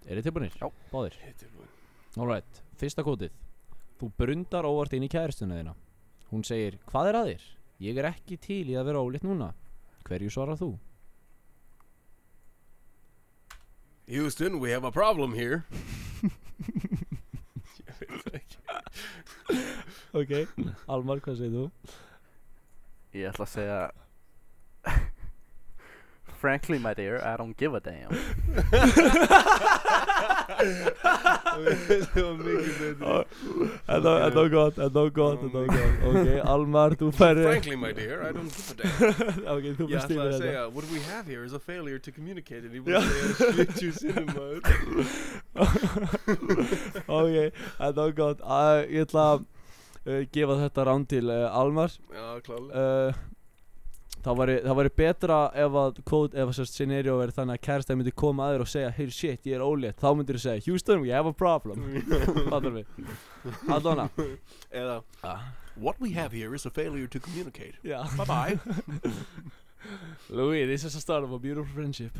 B: eru þið tilbúinir?
C: Já.
B: báðir
D: Ég er tilbúinn.
B: alright fyrsta kótið þú brundar óvart inn í kæristuna þína hún segir hvað er að þér? ég er ekki til í að vera ólitt núna hverju svarar þú?
D: Houston, we have a problem here.
B: ok Almar hvað segir þú?
C: ég ætla að segja Frankly my dear, I don't give a damn
D: Oh, Það var mikið betur
B: Þetta þetta var gott, þetta var gott, þetta var gott Ok, Almar, þú færi
D: Frankly my dear, I don't give a damn
B: Ok, þú hérna.
D: Ég
B: fyrst
D: ætla
B: yfir
D: að
B: þetta
D: segja, uh, what we have here is a failure to communicate And he
B: Já.
D: was uh, there slitju sinnum maður
B: Ok, þetta var gott uh, Ég ætla að uh, gefa þetta rán til uh, Almar
D: Já, klálega
B: uh, Það væri, það væri betra ef að kód, ef að sérst scenario verið þannig að kærasta myndi koma að þér og segja Hey shit, ég er ólétt, þá myndir þú segja Houston, we have a problem Fattar við Allona
D: Eða, what we have here is a failure to communicate
B: Já
D: Bye bye
B: Louis, this is a start of a beautiful friendship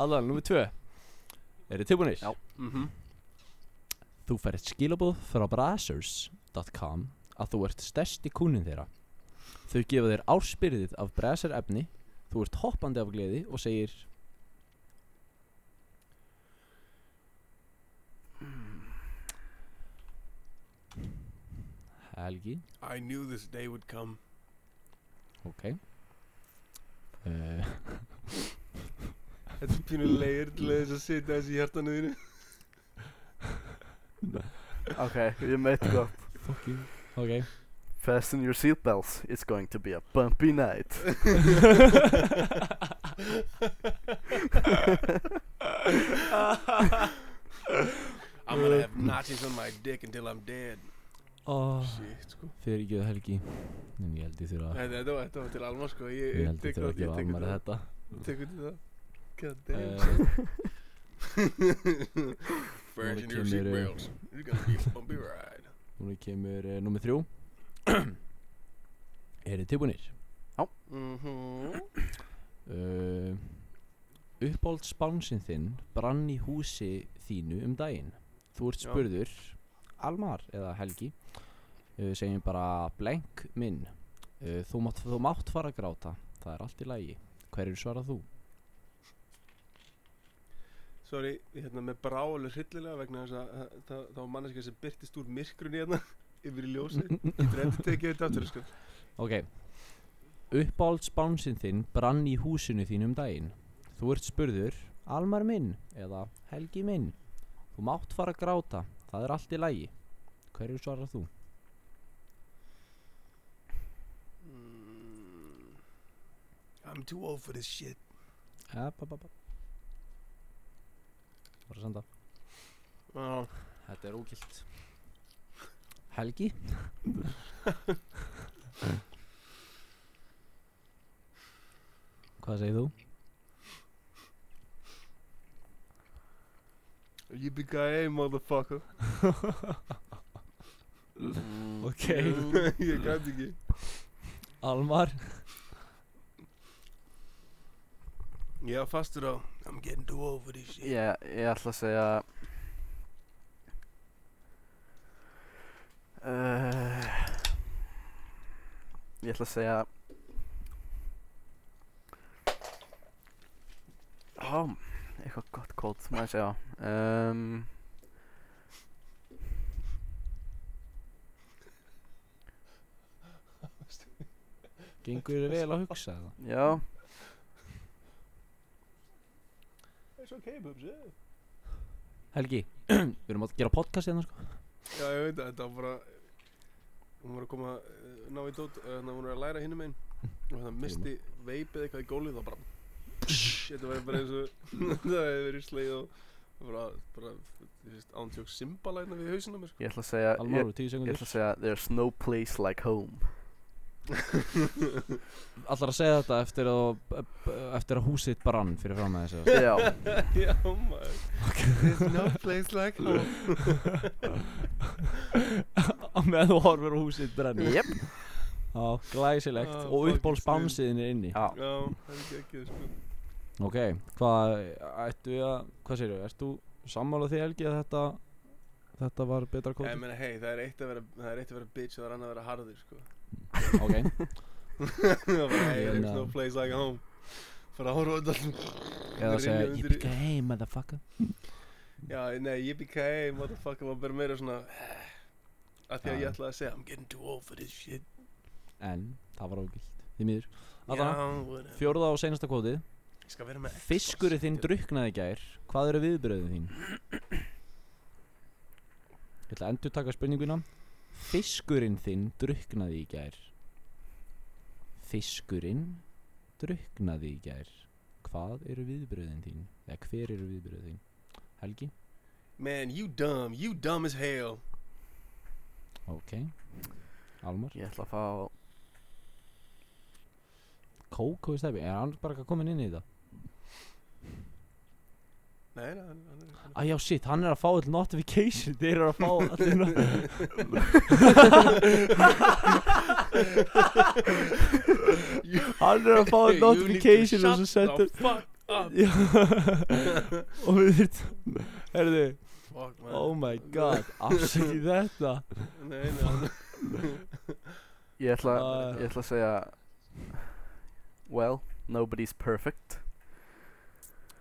B: Allan, nummer tvö Eru tilbúinir?
C: Já.
D: Mhm.
B: Þú færð skilabóð frá brasers.com að þú ert stærsti kúnin þeirra Þau gefa þér áspyrðið af braser efni Þú ert hoppandi af gleði og segir Helgi
D: I knew this day would come
B: Ok uh,
D: Þetta er pínu leir til þess að sitja þessi hjartanu þínu
C: Ok, ég meit gott
B: Fucking Ok
C: Fasten your seatbelts, it's going to be a bumpy night
D: I'm gonna have notches on my dick until I'm dead
B: oh,
D: Shit, sko
B: Fyrir ekki Helgi En ég held ég þurfa að
D: Þetta þetta var, þetta var til Alma, sko Ég,
B: Ah. Ég held
D: tek
B: ég
D: það-
B: þurfa að gefa
D: tek
B: ammar
D: það-
B: þetta
D: Tek undir það God damn
B: uh,
D: Virgin your
B: Núna kemur, eh,
D: seatbelts You're gonna be a bumpy ride
B: Núna kemur uh, nummer þrjú Er þið tilbúinir?
D: Mhm.
B: Uh, Uppáld spánsinn þinn brann í húsi þínu um daginn Þú ert
D: Já.
B: spurður Almar eða Helgi uh, segjum bara blank minn uh, þú, mátt, þú mátt fara að gráta Það er allt í lagi Hverju svarað þú?
D: Sorry, hérna með brá alveg hryllilega vegna þess að það- það það var manneska sem byrtist úr myrkrunni hérna yfir í ljósi Getur endur tekið þetta aftur, sko
B: Ok Uppáld spánsinn þinn brann í húsinu þínu um daginn Þú ert spurður Almar minn eða Helgi minn Þú mátt fara að gráta Það er allt í lagi Hverju svarar þú?
D: I'm too old for this shit
B: Ja, ba, ba, ba. Bara að senda
D: Já,
B: Þetta er ógilt Helgi? Hvað segir þú?
D: yippee-ki-yay, eh, motherfucker
B: Ok
D: Mm. Ég gæti ekki
B: Almar
D: Ég var fastur á I'm getting too old for this shit
C: Ég, ég ætla að segja uh, Ég ætla að segja Hám, eitthvað gott kót, maður sjá um,
B: Gengur þér vel að hugsa það?
C: Já,
D: It's okay, bubs, yeah
B: Helgi, við erum að gera podcast hérna sko
D: Já, ég veit það, þetta var bara Hún var að koma, eh, ná í dót eh, Þannig að hún er að læra hinum einn Og þannig að misti veipið eitthvað í gólið þá bara Þetta var bara eins og Það hefði verið sleið og og bara, bara, þú veist, ántjók simbalæna við hausina mér
C: ég ætla að segja ég,
B: Almaru, tíu
C: ég
B: sekundir
C: ætla að segja There's no place like home
B: Allar að segja þetta eftir að, eh, eftir að húsið brann fyrir fram að þessu
C: Já,
D: Já, maður There's no place like home
B: Á meðan þú horfir á húsið brenni
C: jep
B: Já, glæsilegt
D: Ah,
B: Og
D: fucking
B: uppból
D: snill.
B: spánsiðin er inni
C: Já,
D: Já, það er ekki ekki, sko
B: Ok, hvað ættu við að Hvað segirðu, ert þú sammála því Helgi að þetta Þetta var betra
D: Ég
B: kóti?
D: meina, hei, það er eitt að vera, það er eitt að vera bitch og það er annað að vera harður, sko.
B: Ok,
D: Það var, hey,
B: Ég
D: there's
B: meina-
D: no place like home. Bara að horfa á þetta.
B: eða
D: Rynja
B: segja
D: undir-
B: Yippee hey motherfucker
D: Já, nei, yippee-ki-yay, motherfucker, var bara meira svona, að því að
B: Já.
D: ég ætlaði að segja, I'm getting too old for this shit.
B: En, það var ógilt Því miður Allá,
D: Já, whatever.
B: fjórða og seinasta kótið
D: Ég skal vera með Xbox.
B: Fiskurinn þinn druknaði í gær Hvað eru viðbröðin þín? Ég ætla að endur taka spurninguna Fiskurinn þinn druknaði í gær Fiskurinn druknaði í gær Hvað eru viðbröðin þín? Eða hver eru viðbröðin þín? Helgi?
D: Man, you dumb, you dumb as hell
B: Ok Almar?
C: Ég ætla að fá
B: Kókó í stefni? Er hann bara komin inn í þetta?
D: Nei, nei, hann- hann er
B: Æjá, shit, hann er að fá all notification Þeir eru að fá allir no- Hann er að fá all notification og svo sendur
F: fuck up
B: Já Og við þurftum Herðu,
D: Fuck, man
B: oh my god Afsakið þetta
D: Nei, nei, hann
C: Ég ætla,
B: Ah.
C: ég ætla að segja Well, nobody's perfect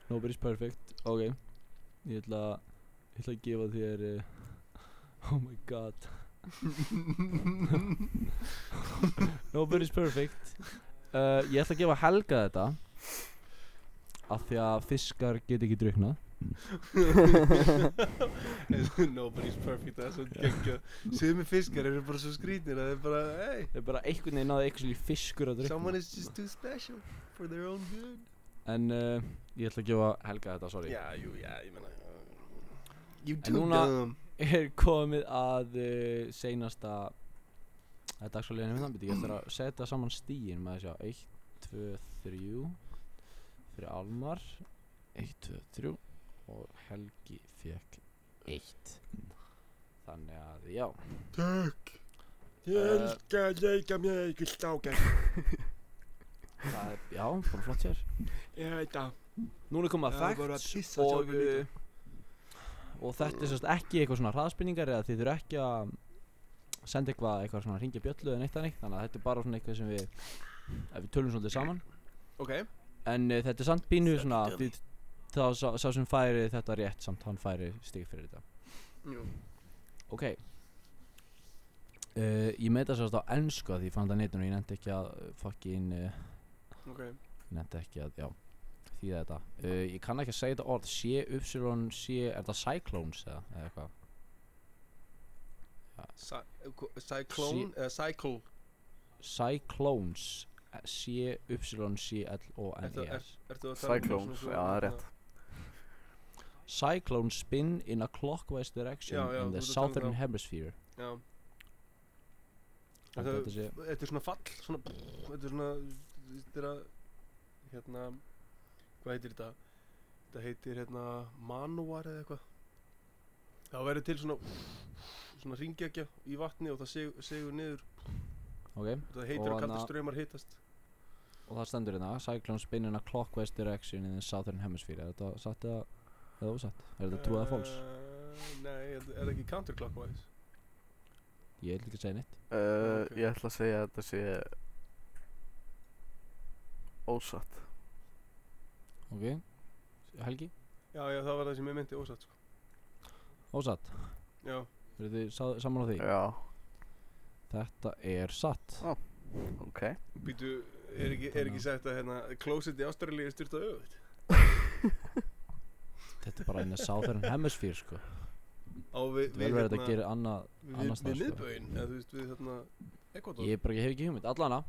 B: Nobody's perfect, ok Ég ætla Ég ætla að gefa þér uh, Oh my god Nobody's perfect uh, Ég ætla að gefa Helga þetta Af því að fiskar get ekki druknað
D: Nobody's perfect, altså. það er svo geggjað Sumi fiskar eru bara svo skrýtnir að þeir bara, hey
B: Það er bara einhvern veginn náði eitthvað fiskur að drukna
D: Someone is just too special for their own good
B: En uh, ég ætla að gefa Helga þetta, sorry
D: Já, jú, já, ég meina uh, You
B: En
D: too
B: núna-
D: dumb
B: er komið að uh, seinasta eh, Það er dagsfæliðinu minna, beti um ég eftir að setja saman stíin með þess að 1, 2, 3 fyrir Almar 1, 2, 3 og Helgi fekk 1 Þannig að já
D: Takk
B: Ég
D: Øh. elska að leika með ykkur stákar
B: það er, já, bara flott sér
D: Ég veit það
B: Núna er komið
D: Já,
B: að
D: bara að
B: facts
D: pissa
B: og
D: sjálfur líka.
B: uh, og þetta er sérst ekki eitthvað svona hraðspinningar eða þið þurfa ekki að senda eitthvað, eitthvað svona ringja bjöllu eða neitt þannig þannig að þetta er bara svona eitthvað sem við að við tölum svolítið saman
D: Ok,
B: en uh, þetta er samt bínu svona við, þá sá, sá sem færi þetta rétt samt hann færi stig fyrir þetta
D: jú
B: ok uh, ég með það sérst á ennsku að því ég fann það neitt og ég nefndi ekki að uh, fucking uh,
D: Ok,
B: nefndi ekki að, já því þetta, uh, ég kann ekki að segja þetta orð C, Upsilon, C, er það Cyclones eða, eða eitthvað
D: Cy- hva- Cyclone, eða Cycle
B: Cyclones, eh, C, Upsilon, C, L, O, N,
D: Ertu-
B: E, S
D: Ertu að tala um svona-
C: Cyclones, já það er rétt
B: Cyclones spin in a clockwise direction
D: Já, já,
B: in
D: þú
B: the
D: ert að tala um
B: southern
D: þá.
B: hemisphere
D: Já
B: Þetta þetta sé,
D: Þetta er svona fall svona, Þetta er svona Þetta er að Hérna Hvað heitir þetta? Þetta heitir hérna Manowar eða eitthvað Það verður til svona Svona ringjækja í vatni og það segur, segur niður
B: ok
D: Það heitir
B: Og
D: að kalda
B: hana-
D: ströymar hittast
B: og það stendur hérna, Cyclones spin in a clockwise direction in the southern hemisphere er þetta satt eða, eða ósatt er þetta true eða false?
D: Uh, Eh, Nei, er er það ekki counterclockwise?
B: Ég vil ekki segja neitt
C: uh,
D: ok.
C: Ég ætla að segja að þetta sé Ósatt
B: ok, Helgi,
D: Já, já, það var það sem ég myndi ósatt sko.
B: ósatt
D: Já,
B: eru þið sá- saman á því?
C: Já,
B: Þetta er satt
C: ok
D: býtu, er ekki, er ekki
B: Þannig
D: sagt að hérna, closet í Ástralíu er styrt á öfut?
B: Þetta er bara einu Southern Hemisphere sko
D: Á við,
B: Vel
D: við,
B: verið
D: hérna,
B: að gera annað
D: við, við
B: annars staðar, sko.
D: miðbögin, eða þú veist, við hérna, Ekvator,
B: Ég bara ég hef ekki hugmynd Allana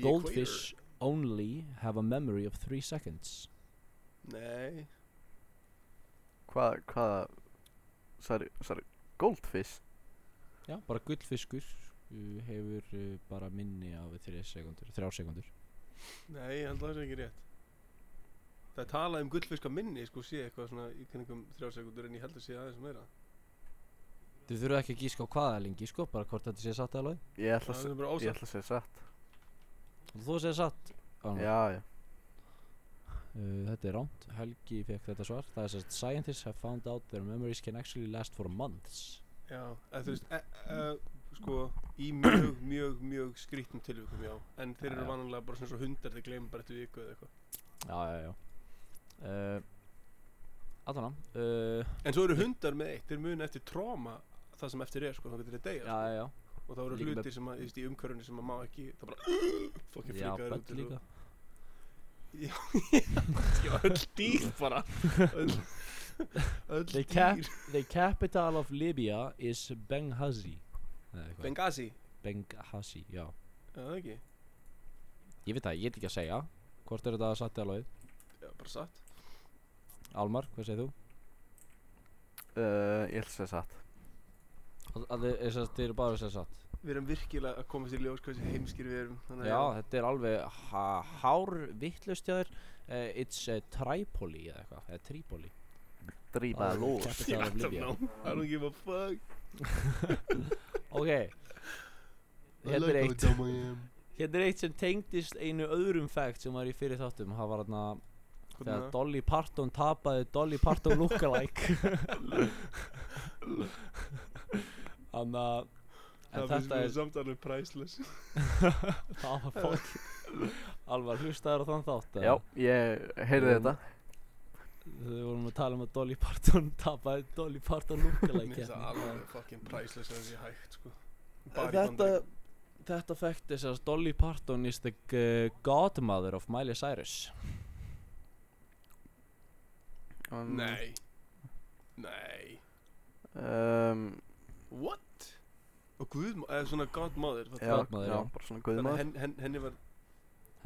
B: Goldfish only have a memory of 3 seconds
D: Nei,
C: Hvað, hvað Sorry, sorry Goldfish
B: Já, bara gullfiskur uh, hefur uh, bara minni af 3 sekundur 3 sekundur
D: nei, ég held að það sé ekki rétt Það er talað um gullfiska minni, sko, sé eitthvað svona í kenningum þrjá sekundur en ég held að sé aðeins meira
B: Þið þurfa ekki að gíska á hvaða lengi sko bara hvort þetta sé satt eða lóð
C: Ég ætla
D: Það
C: að
D: er
C: se-
D: bara
C: ég
D: ósatt
C: ætla að segja satt
B: Og þú segir satt Arnar.
C: Já, já
B: Uh, þetta er ránt, Helgi fekk þetta svar Það er sérst, scientists have found out their memories can actually last for months
D: Já, eða þú veist, e, e, sko, í mjög, mjög, mjög skrýttum tilvikum, já En þeir
B: Já,
D: eru
B: já.
D: vanalega bara svona svo hundar, þeir gleymum bara eftir viku eða eitthvað
B: Já, já, já uh, Allana uh,
D: En svo eru hundar með eitt, þeir muna eftir tróma það sem eftir er, sko, þá getur þeir deyja,
B: Já, já, já
D: sko Og það eru
B: Líka með-
D: hlutir sem að, þú veist, í umkörunni sem að má ekki, það bara, fokkin
B: Já,
D: frikaður
B: börn
D: út
B: líka
D: Já, já, öll dýr bara Öll, öll
B: The cap, the capital of Libya is Benghazi Eða eitthvað.
D: Benghazi,
B: Benghazi, já
D: já það ekki
B: Ég veit það, ég get ekki að segja Hvort er þetta satt eða logið?
D: Já, bara satt
B: Almar, hvað segir þú?
C: Uh, ég ætla að segja satt.
B: Að- að Þið er sem sagt- þið eru bara sem satt
D: Við erum virkilega að komast í ljós hversu heimskir við erum þannig að-
B: Já, þetta er alveg ha hár vittlust hjá þér uh, It's uh, Tripoli eða eitthvað Eða Tripoli
C: Drífa
B: Alveg
C: lús.
D: I
B: capital of
D: don't
B: Libya.
D: know, I don't give a fuck
B: Ok Hérna er eitt Hérna er eitt sem tengdist einu öðrum fact sem var í fyrir þáttum Það var þarna þegar
D: Hvernig
B: Dolly Parton tapaði Dolly Parton lookalike Þannig að En
D: það Það
B: þetta
D: finnst mér
B: er
D: samt alveg priceless
B: Það var fólk Alvar hlustaður á þann þátt eða?
C: Já, ég heyrði þetta.
B: Þegar við vorum að tala um að Dolly Parton tapaði Dolly Parton lookalike
D: Mér finnst það
B: keppni.
D: alveg fucking priceless að það sé hægt sko Bara í
B: Þetta
D: Bandaríkjunum.
B: Þetta fact er að Dolly Parton is the g- godmother of Miley Cyrus
C: Um,
D: Nei Nei
C: Um,
D: What? Og guðmóður, eða svona godmóður
C: já,
B: Godmother,
C: já,
B: já.
C: bara
D: Þannig
C: svona
D: að
C: guðmaður.
D: hen, hen, henni var,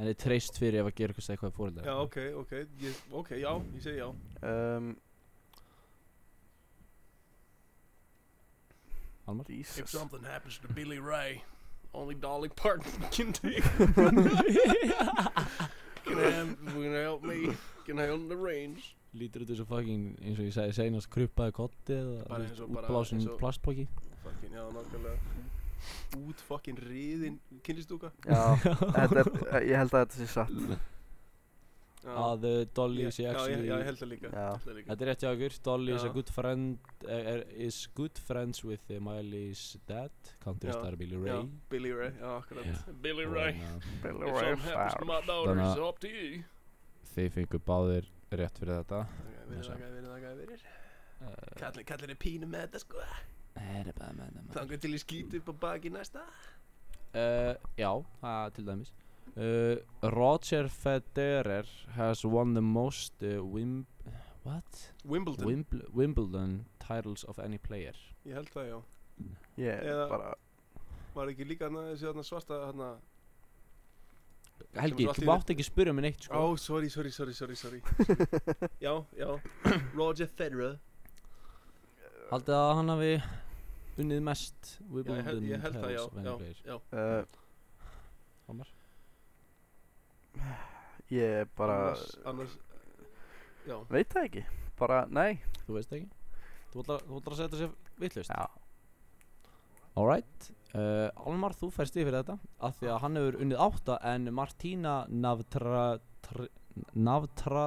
B: Henni er treyst fyrir ef að gera eitthvað eitthvað fórildar
D: já ok, ok, ég, ok, já, ég segi já
C: Um,
B: Almar?
C: Jesus.
D: something happens to Billy Ray Only Dolly Parton can take Can, have, can help me Can help the range
B: Lítur út þessu fucking, eins og ég sagði seinast, krupaði kotti eða
D: Bara eins og bara-
B: útblásin
D: eins og-
B: plastpóki
D: Fucking, já, nákvæmlega Út fucking riðin kynlistúka
C: Já, þetta er, ég held að þetta sé satt.
D: Já.
B: að uh, Dolly
D: Ég-
B: sé
D: já, ég,
B: actually
D: já, ég held það líka,
C: Já.
D: held það líka.
B: Þetta er rétt hjá ykkur, Dolly is a
D: Já.
B: good friend er, er, is good friends with uh, Miley's dad, country
D: Já,
B: star Billy
D: Já,
B: Ray
D: Billy Ray, já, akkurat
B: Já.
F: Billy
B: og
F: Ray.
B: hérna,
C: Billy
F: If
C: Ray
F: something happens to my daughter,
B: Then, uh,
F: it's up to you.
B: Þeir fengu báðir rétt fyrir þetta
D: Ok, verið
B: Þessa.
D: það, verið það, verið
B: uh,
D: Kallir, kallir er pínu með þetta sko
B: Er bara með þeim
D: Þangar til ég skýti upp á baki næsta
B: Uh, já, það til dæmis uh, Roger Federer has won the most uh, Wim What?
D: Wimbledon,
B: Wimbl Wimbledon titles of any player
D: ég held það já
C: Ég
D: Eða-
C: bara,
D: Var ekki líka hana, þessi hana svarta hana
B: Helgi,
D: svo allt
B: þú
D: í-
B: mátt ekki spyrja mig neitt
D: Ó,
B: sko
D: sorry, sorry, sorry, sorry, sorry Já, já Roger Federer
B: Haldið að hann hafi unnið mest
D: Já, ég, held,
B: Wimbledon
D: ég held það,
B: titles
D: já,
B: of any
D: já,
B: player
D: já
C: uh,
B: Ómar?
C: ég bara,
D: Annars, annars Já,
C: veit það ekki. Bara, nei.
B: Þú veist ekki Þú ætlar þú ætlar að setja sér vitlaust
C: Já.
B: Alright uh, Almar, þú færst yfir þetta af því að hann hefur unnið átta en Martina Navtra tr, Navtra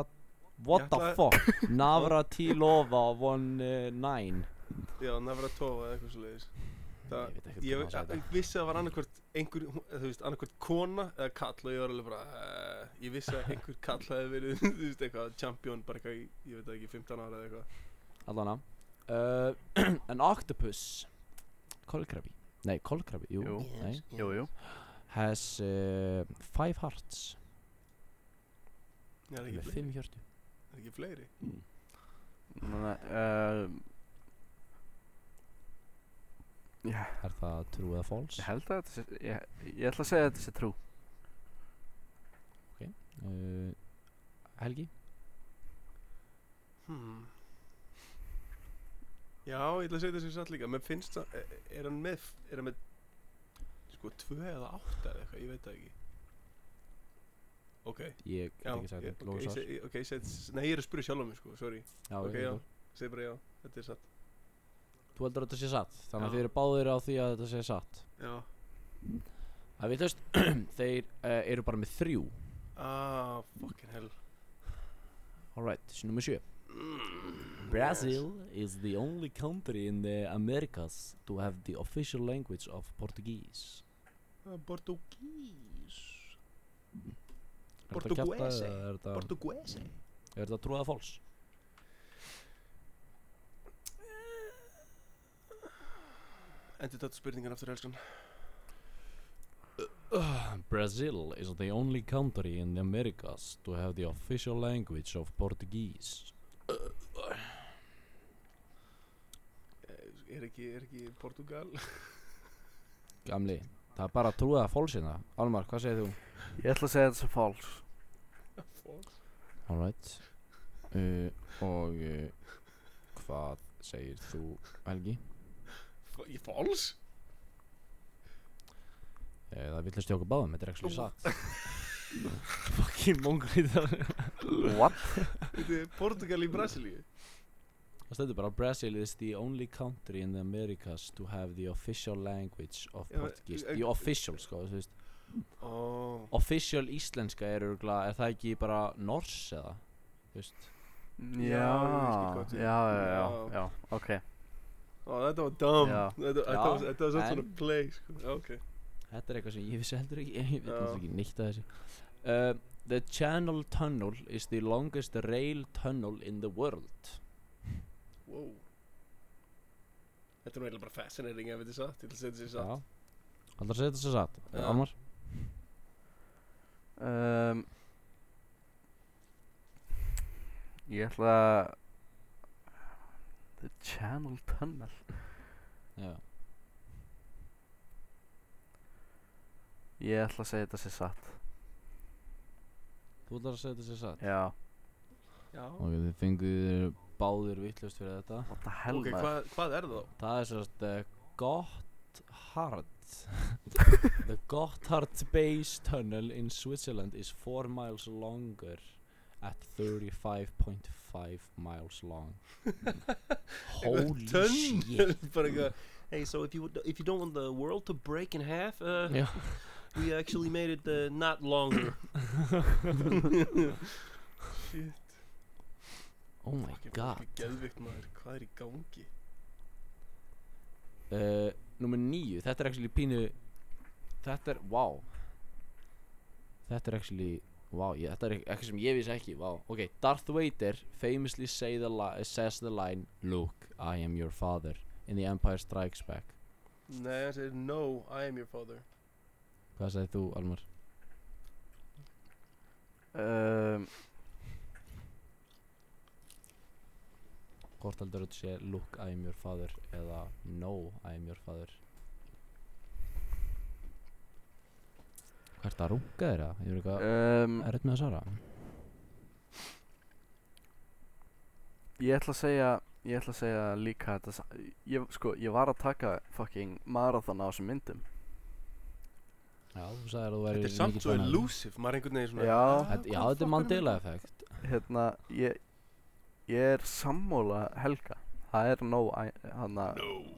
B: What
D: Ég
B: the
D: ætlaði-
B: fuck Navratilova won uh, nine
D: já, Navratova eða eitthvað svo leiðis
B: Ég
D: Það,
B: veit ekki
D: ég,
B: hvað það
D: ég vissi að það var annarkvort einhver, hún- þú veist, annarkvort kona eða kall og ég var alveg bara uh, ég vissi að einhver kall hefði verið, þú veist, eitthvað champion, bara eitthvað, í, ég veit það ekki 15 ára eða eitthvað
B: Allana uh, An octopus Kolkrabi Nei, kolkrabi, jú,
C: Jú.
B: Nei.
C: Jú, jú.
B: Has uh, five hearts
D: Er það
B: Með
D: ekki fleiri?
B: fimm hjörtu
D: Er það ekki fleiri?
C: Nei, um, já,
B: Er það true eða false?
C: ég held að þetta sé, ég, ég ætla að segja að þetta sé trú.
B: Uh, Helgi?
D: Hmm. Já, ég ætla að segja þessu satt líka Mér finnst það, er- er hann með Er hann með, sko, tvö eða átta eða eitthvað, ég veit það ekki Ok,
B: Ég get
D: já
B: ekki sagt
D: ég,
B: þetta
D: Ok,
B: Lóa
D: ég
B: svar.
D: seg, ok, ég seg, nei, ég er að spyrja sjálf mig, sko, sorry
B: Já,
D: Ok,
B: ég-
D: já, segi bara já, þetta er satt
B: Þú heldur að þetta sé satt Þannig að
D: Já.
B: þið eru báðir á því að þetta sé satt
D: Já,
B: Það við þaust Þeir uh, eru bara með þrjú
D: ah, fucking hell
B: Alright, sinni nummer sjö Brazil is the only country in the Americas to have the official language of Portuguese
D: Ah, Portugís
B: Er þetta kjafta
D: Portuguese.
B: eða Er þetta-
D: Portugese
B: er þetta trúið að fáls?
D: Endur þetta spurningan aftur, elskan
B: Brazil is the only country in the Americas to have the official language of Portuguese.
D: Eh, Er ekki, er ekki Portugal?
B: Gamli, það er bara að trúa að fólksina. Almar, hvað segir þú?
C: Ég ætla að segja þetta sem fáls
B: Alright. Uh, og uh, hvað segir þú, Helgi?
D: F- Í Fáls?
B: Uh, það villast ég okkur báðum, þetta er ekki satt. Fucking mongolítar.
C: What?
D: Þetta er Portugal í Brasilíu
B: Það stendur bara Brazil is the only country in the Americas to have the official language of
D: Já,
B: Portuguese.
D: eh,
B: The official, sko, þú veist.
D: Ó
B: Official íslenska er örgulega, er það ekki bara nors eða? Þú veist,
D: Já,
C: Já,
D: ég skil hvað þú-
C: já, já, já,
D: Já.
C: já, ok
D: Ó, þetta var dumb
C: Já.
D: Þetta, þetta, var,
B: Já,
D: þetta var samt
B: en-
D: svona play sko. Já, Ok
B: þetta er eitthvað sem ég vissi heldur ekki, ég veit
D: Já.
B: náttúrulega ekki nýtt að þessu. Uh, the Channel Tunnel is the longest rail tunnel in the world.
D: wow. Þetta er nú eiginlega bara fascinating ef þetta er satt Ég ætla að setja sér satt Já.
B: Já. Alltaf segir þetta sem satt, Almar?
C: um, Ég ætla að The Channel Tunnel
B: Já.
C: Ég ætla að segja þetta sem satt
B: Þú ætlar að segja þetta sem satt?
C: Já,
D: Já
B: Ok, þið fenguð báðir vittlust fyrir þetta.
C: what the hell
D: Ok,
C: maður?
D: hvað, hvað er það þá?
B: Það er sérst uh, Gotthard The Gotthard Base Tunnel in Switzerland is 4 miles longer at 35.5 miles long Holy shit
D: Tunnel, bara eitthvað Hey, so if you, would- if you don't want the world to break in half uh,
B: Já,
D: We actually made it uh, not longer
B: oh my god
D: Geðvikt maður, hvað er í gangi?
B: uh, Númer 9, þetta er actually pínu Þetta er, wow Þetta er actually Wow, ég, þetta er eit- eitthvað sem ég vissi ekki Wow, ok, Darth Vader famously say the li- says the line Luke, I am your father In the Empire Strikes Back
D: Nei, hann segir No, I am your father
B: Hvað sagði þú, Almar?
C: Um,
B: Hvort heldur þú sé Luke, I am your father Eða No, I am your father Hvað er þetta að runga þér að? Ég er eitthvað
C: um,
D: Eh,
B: erfitt með að svara
C: Ég ætla að segja Ég ætla að segja líka þetta sa- ég, Sko, ég var að taka fucking marathon á þessum myndum
B: Já, þú sagði að þú væri
D: Þetta er samt
B: mikill
D: svo
B: fan af þeim.
D: elusive, maður er einhvern veginn svona
C: Já.
B: Þetta- Já, þetta er Mandela effekt
C: Hérna, ég Ég er sammála Helga Það er no I- Hanna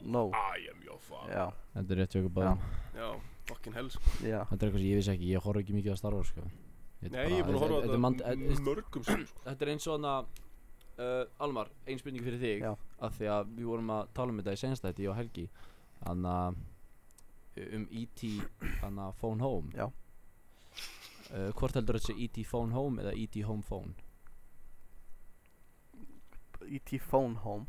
C: No
D: I am your father
C: Já,
B: Þetta er rétt hjá ykkur báðum
D: Já, fucking hell sko.
C: já
B: Þetta er eitthvað sem ég vissi ekki, ég horf ekki mikið að starfa sko. Þetta
D: Nei, ég er búin að
B: þetta-
D: horfa á
B: þetta er mand-
D: þetta
B: þetta-
D: mörgum sem sko.
B: Þetta er eins og hana uh, Almar, ein spurning fyrir þig
C: Já.
B: að Því að við vorum að tala um þetta í senstætti Ég og Helgi Hanna um E.T. Hanna Phone Home
C: Já.
B: uh, Hvort heldur þetta sé E.T. Phone Home eða E.T. Home Phone
C: E.T. Phone Home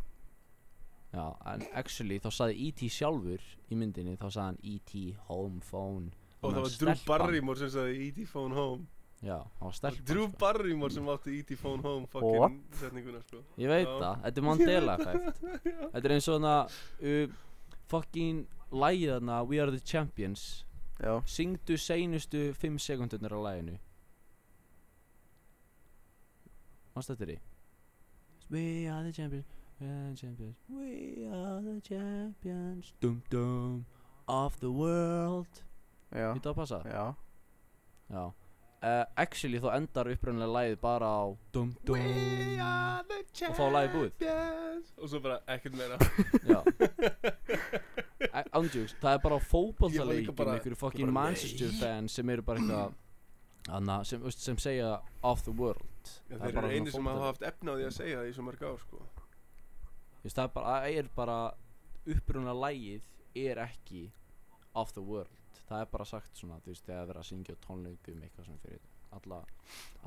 B: Já, en actually þá saði E.T. sjálfur í myndinni þá saði hann E.T. Home Phone
D: Og það
B: Hann
D: var Drew
B: stelpan.
D: Barrymore sem sagði E.T. Phone Home
B: Já, hann var
D: Það
B: stelpan
D: var Drew
B: sko.
D: Barrymore sem átti E.T. Phone Home
C: What?
D: fucking setninguna sko.
B: Ég veit
D: Já.
B: það, þetta er Mandela effekt Þetta er eins og hana uh, Fucking lægið hana We are the champions
C: Já,
B: Syngdu seinustu 5 sekundunir á læginu Manst þetta er í? We are the champions We are the champions We are the champions Dum dum Of the world
C: já,
B: Þetta að passa?
C: já
B: Já uh, Actually þá endar upprunnilega lægið bara á Dum dum
D: We are the
B: Og þá er lagið búið.
D: champions Og svo bara ekkert meira
B: Já Andjúks, það er bara
D: Ég var líka
B: fótballtaleik um
D: bara-
B: einhverju
D: bara,
B: fucking
D: nei.
B: Manchester fans sem eru bara eitthvað anna, sem, veist, sem segja of the world
D: Já,
B: það
D: Þeir
B: er bara
D: eru einu sem hafa
B: fótboltaleik.
D: haft efna á því að segja það í svo mörg ár sko.
B: Þú veist, það er bara, það er bara uppruna lægið er ekki of the world það er bara sagt svona, þú veist, þegar verið að syngja á tónleikum eitthvað sem fyrir alla,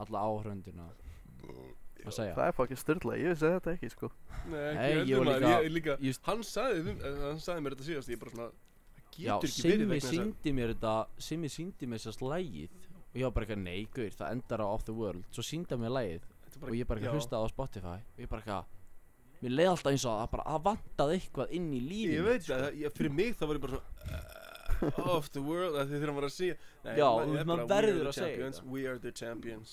B: alla áhröndina að segja
C: Það er fucking styrla, ég vissi þetta ekki sko
D: Nei,
B: Nei,
D: ekki
B: ég
D: heldur
B: var
D: maður
B: líka-
D: Ég- ég líka
B: just-
D: Hann sagði, þeim- eh, hann sagði mér þetta síðast Ég bara svona
B: Já,
D: getur ekki verið
B: Simmi
D: vegna þess að
B: síndi mér þetta Simmi síndi mér þessast lægið og ég var bara eitthvað nei, guður, það endar á Off the World svo síndi hann mér lægið
D: Þetta er
B: og ég bara
D: já.
B: eitthvað hlustaði á Spotify og ég bara eitthvað mér leiði alltaf eins og að það bara að vantaði eitthvað inn í lífið
D: Ég veit
B: mitt,
D: það, ég, fyrir mig það var ég bara svona uh, Off the world, af því þegar maður var að segja Nei,
B: Já,
D: maður- ég
B: þú
D: er
B: veist, maður
D: bara, "We are
B: verður
D: the
B: að segja
D: champions,
B: þetta."
D: We are the champions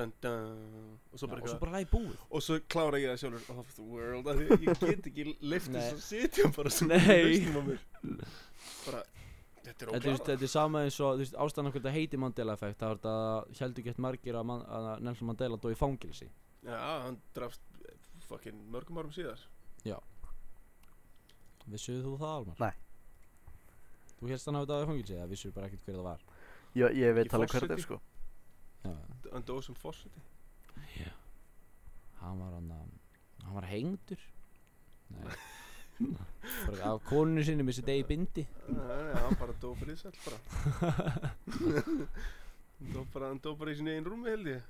D: dun, dun. Og svo
B: Já,
D: bara
B: og svo
D: eitthvað
B: bara lægi búið
D: Og svo klára ég það sjálfur Off the world, af því ég get ekki leift
B: Nei.
D: þess að sitja bara svona í
B: Nei.
D: hausnum á mér. Bara, þetta er
B: Þetta, þú veist,
D: óklára
B: þetta er sama eins og þú veist, ástæðan okkur þetta heiti Mandela effekt það var þetta heldur gett margir að, man, að Nelson Mandela dó í fangilsi
D: Já, hann drafst eh, fucking mörgum árum síðar
B: Vissuðu þú það Almar?
C: Nei.
B: Þú helst hann hafi dáið í fangilsi eða vissuðu bara ekkert hver það var?
C: Já, ég veit
D: Í
C: alveg hver
D: forseti?
C: þetta er sko
B: Já,
D: Hann dóð sem fórseti
B: hann var hann að hann var hengdur Nei Bara af konunni sinni með sér degi bindi
D: Nei, nei, hann bara dó friðsæll bara Hann dó bara, hann dó bara í sinni einn rúmi held ég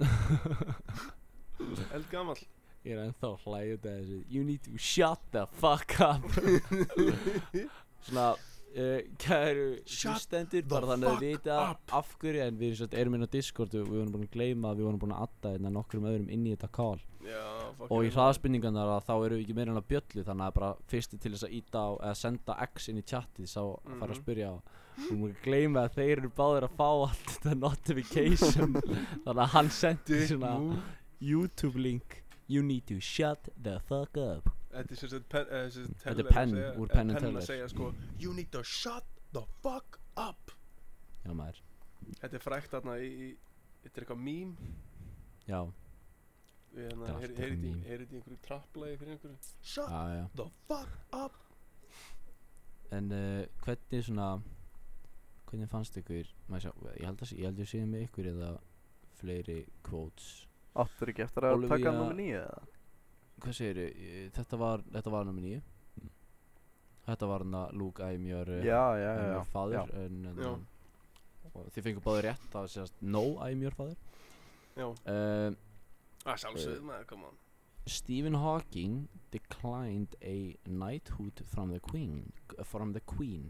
D: Held gamall
B: Ég er ennþá hlægjum þetta þessu You need to shut the fuck up Svona uh, Kæru
D: Shut
B: hlustendur
D: the
B: Bara þannig að
D: fuck
B: þið vita
D: up.
B: af hverju En við satt, erum inn á Discord og við vorum búin að gleyma að Við vorum búin að adda hérna nokkrum öðrum inn í þetta call
D: Já, fuck
B: Og í
D: it.
B: hraðspinningarnar að þá eru við ekki meira en að bjöllu Þannig að bara fyrsti til þess að íta á Eða senda X inn í chatið Sá að fara að
D: Mhm.
B: spyrja á Við vorum að gleyma að þeir eru báðir að fá allt Þetta notification Þannig að hann sendi
D: Dick
B: svona
D: move.
B: YouTube link You need to shut the fuck up
D: Þetta er sem sagt pen, eh, sem sagt
B: Þetta
D: Teller
B: er
D: að
B: pen,
D: segja-
B: úr
D: eh,
B: Penn and
D: Penn
B: Teller.
D: að segja sko You need to shut the fuck up
B: Já maður
D: Þetta er frækt þarna í, í Þetta er eitthvað mím
B: Já,
D: Við hérna,
B: Þetta er allt
D: heyrið
B: eitthvað
D: heyrið í
B: meme.
D: heyrið í einhverju trapplægi fyrir einhverju Shut
B: já, já
D: the fuck up
B: En uh, hvernig svona Hvernig fannst ykkur maður sjá, Ég held að sé- ég held ég sé með ykkur eða Fleiri quotes
C: Áttur ekki eftir að
B: Olivia-
C: taka nummer nýja eða?
B: Hvað segirðu? Eh, Þetta var, þetta var nummer 9 Þetta var hann að Luke I'm your eh,
C: Já, já,
B: I'm
C: já,
B: your father
C: já.
B: En, en,
D: Já.
B: og Þið fengur báðu rétt Það var sérst No I'm your father
D: Já,
B: uh,
D: að sjálfsögðu maður, come on
B: Stephen Hawking declined a knighthood from the queen from the queen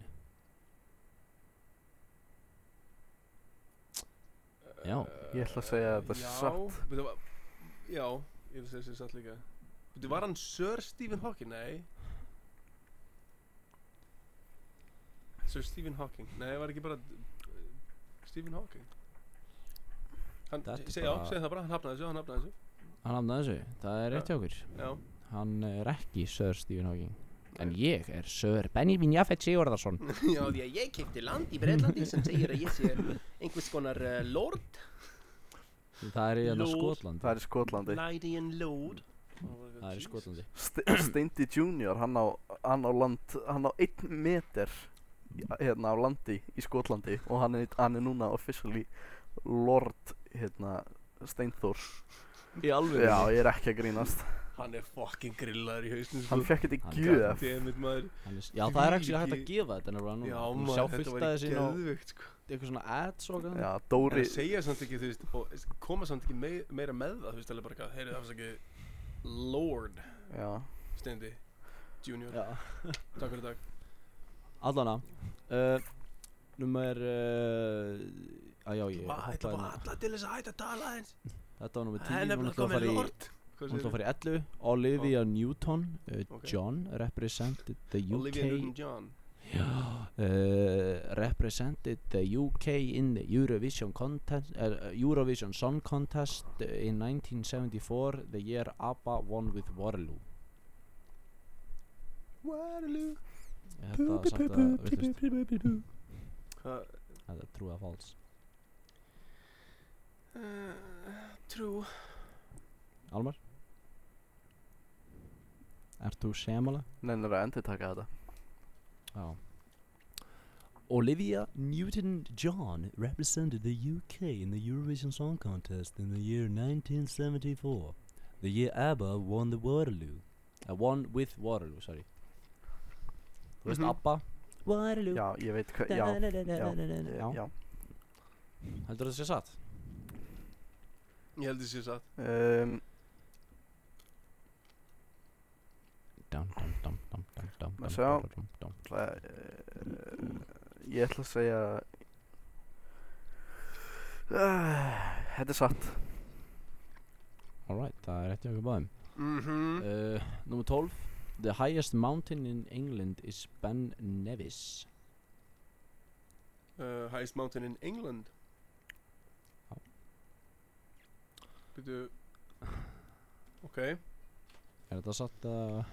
B: Já.
C: Ég ætla að segja að þetta sé
D: Eh, Já,
C: satt.
D: veitu hvað- Já, ég ætla að segja að þetta er satt líka Þú var hann Sir Stephen Hawking? Nei Sir Stephen Hawking Nei, var ekki bara uh, Stephen Hawking Hann,
B: Þetta er
D: seg, já,
B: bara-
D: segja það bara, hann hafnaði þessu, hann hafnaði þessu
B: Hann hafnaði þessu, það er rétt hjá okkur
D: Já,
B: Hann er ekki Sir Stephen Hawking En ég er Sir Benjamin Jaffet Sigurðarsson
D: já því að ég kefti land í Breitlandi sem segir að ég sé einhvers konar uh, lord
B: Það er í hérna
D: Lord.
B: Skotland
C: Það er í Skotlandi
D: Lydian lord
B: Það er sko- í Skotlandi
C: Ste Steindi Junior, hann á, hann á land, hann á einn meter í- hérna á landi í Skotlandi og hann er, hann er núna officially Lord, hérna, Steinþór
B: Í alveg
C: Já, ég er ekki að grínast
D: Hann er fucking grillaður í hausnum
C: Hann fekk
B: Hann
C: þetta í
B: gat-
C: gjöf
D: Demit maður
B: Já, það er ekki hægt að
D: Þvílíki-
B: gefa þetta nefnilega núna
D: Já
B: Þú
D: maður,
B: sjá
D: þetta
B: fullt
D: var
B: af
D: ekki
B: þessi á
D: geðvögt sko
B: eitthvað svona ads og eitthvað
C: Já,
D: En
C: Dóri
D: að segja samt ekki, þú veist, og s- koma samt ekki mei, meira með það, þú veist, alveg bara eitthvað, heyrðu það ekki Lord
C: Já,
D: Steindi Junior,
B: Já
D: takk fyrir dag
B: Allana uh, Númer uh, að Já, ég
D: Va- Þetta
B: hoppaði
D: var
B: hérna.
D: alla til þess að hætta að tala eins
B: Þetta var nummer
D: Það
B: 10
D: er
B: Hún
D: nefnilega
B: ætlaði að
D: komið
B: fara í
D: Lord
B: Hún ætlaði að fara í 11 Olivia Newton uh,
D: Ok.
B: John represented the UK
D: Olivia Newton-John
B: uh, Represented the UK in the Eurovision contest uh, Eurovision Song Contest in 1974 the year ABBA won with Waterloo
D: Waterloo
B: Þetta var sagt að vitlaust.
D: Hvað-
B: Þetta er true að false
D: eh, True
B: Almar Ert þú semála?
C: nennir að endur taka þetta
B: Já Olivia Newton-John represented the UK in the Eurovision Song Contest in the year 1974. The year ABBA won the Waterloo. Uh, won with Waterloo, sorry. Þú veist
D: Mhm.
B: ABBA? Waterloo.
C: Já, ég veit hvað, já, já,
B: Já.
C: já.
B: Heldur það sé satt?
D: Ég held þessi satt
C: Um,
B: Dum, dum, dum, dum, dum, dum.
C: Að sjá. Það, uh, ég ætla að segja uh, Þetta er satt
B: Alright, það er rétt hjá okkur báðum
D: Mhm
B: uh, Númer 12 The highest mountain in England is Ben Nevis
D: uh, Highest Mountain in England
B: Eh. Já.
D: Byrju Ok eh,
B: Er þetta satt að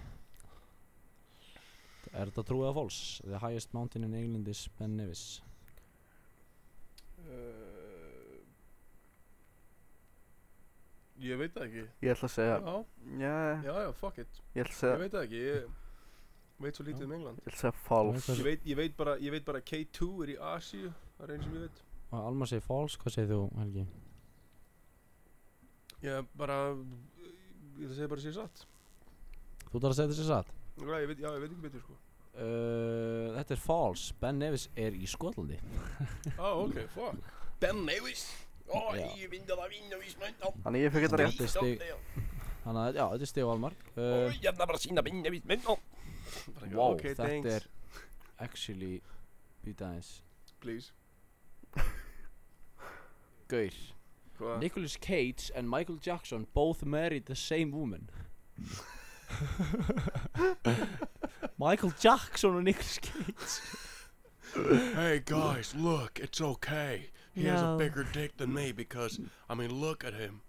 B: Er þetta trúið að fólks? The highest mountain in England is Ben Nevis
D: uh, Ég veit það ekki
C: Ég ætla að segja
D: Já,
C: Já,
D: já, já, fuck it
C: ég ætla að
D: Ég
C: segja
D: veit það ekki, ég veit svo lítið um England
C: Ég ætla að segja fáls
B: Þú
D: Ég veit, ég veit, bara, ég veit bara K2 er í Asíu Það er einn sem ég veit
B: Og Alma segir false, hvað segir þú Helgi?
D: Ég bara Ég ætla að segja bara sér satt
B: Þú þarf að segja þessi satt
D: Nefnilega, ég veit, Já, ég veit ekki betur sko
B: uh, Þetta er false, Ben Nevis er í Skotlandi
D: Á, Ah, ok, fuck Ben Oh, Nevis Ó,
B: Já.
D: ég vinda það vinna í smöndan
C: Þannig ég fekk þetta rétt
B: Þetta er stig Þannig að, já, þetta er stig og Almar uh,
D: Ég er bara að sína vinna í smöndan
B: Wow, þetta er Actually Býta aðeins
D: Please
B: Gaur
D: Hvað?
B: Nicolas Cage and Michael Jackson both married the same woman Michael Jackson og Nicolas Cage
F: Hey guys, look, it's okay. He has
B: No.
F: a bigger dick than me because, I mean, look at him.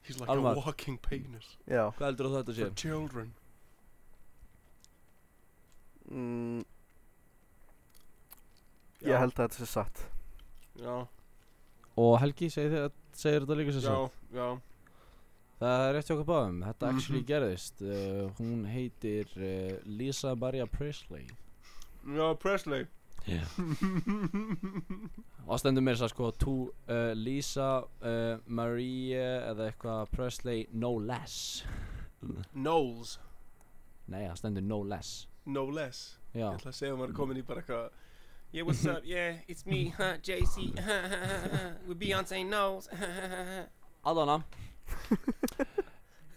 F: He's like
B: Almar.
F: a walking penis
C: Já
B: Hvað heldur þú að þetta sé?
F: for children.
C: mm,
D: Já.
C: Ég held að þetta sé satt
D: Já,
B: Og Helgi segir, þið, segir þetta líka sem
D: já,
B: sagt
D: já
B: Það er rétt hjá okkur báðum, þetta actually gerðist uh, Hún heitir uh, Lisa Maria Presley
D: Já, Presley
B: yeah. Og stendur mér það sko to, uh, Lisa uh, Maria eða eitthvað Presley no less
D: Knowles
B: Nei, það stendur no less
D: No less
B: Já,
D: Ég ætla að segja að maður er komin í bara eitthvað
H: Yeah, what's up? Yeah, it's me, huh, JC, with Beyonce knows.
B: aðana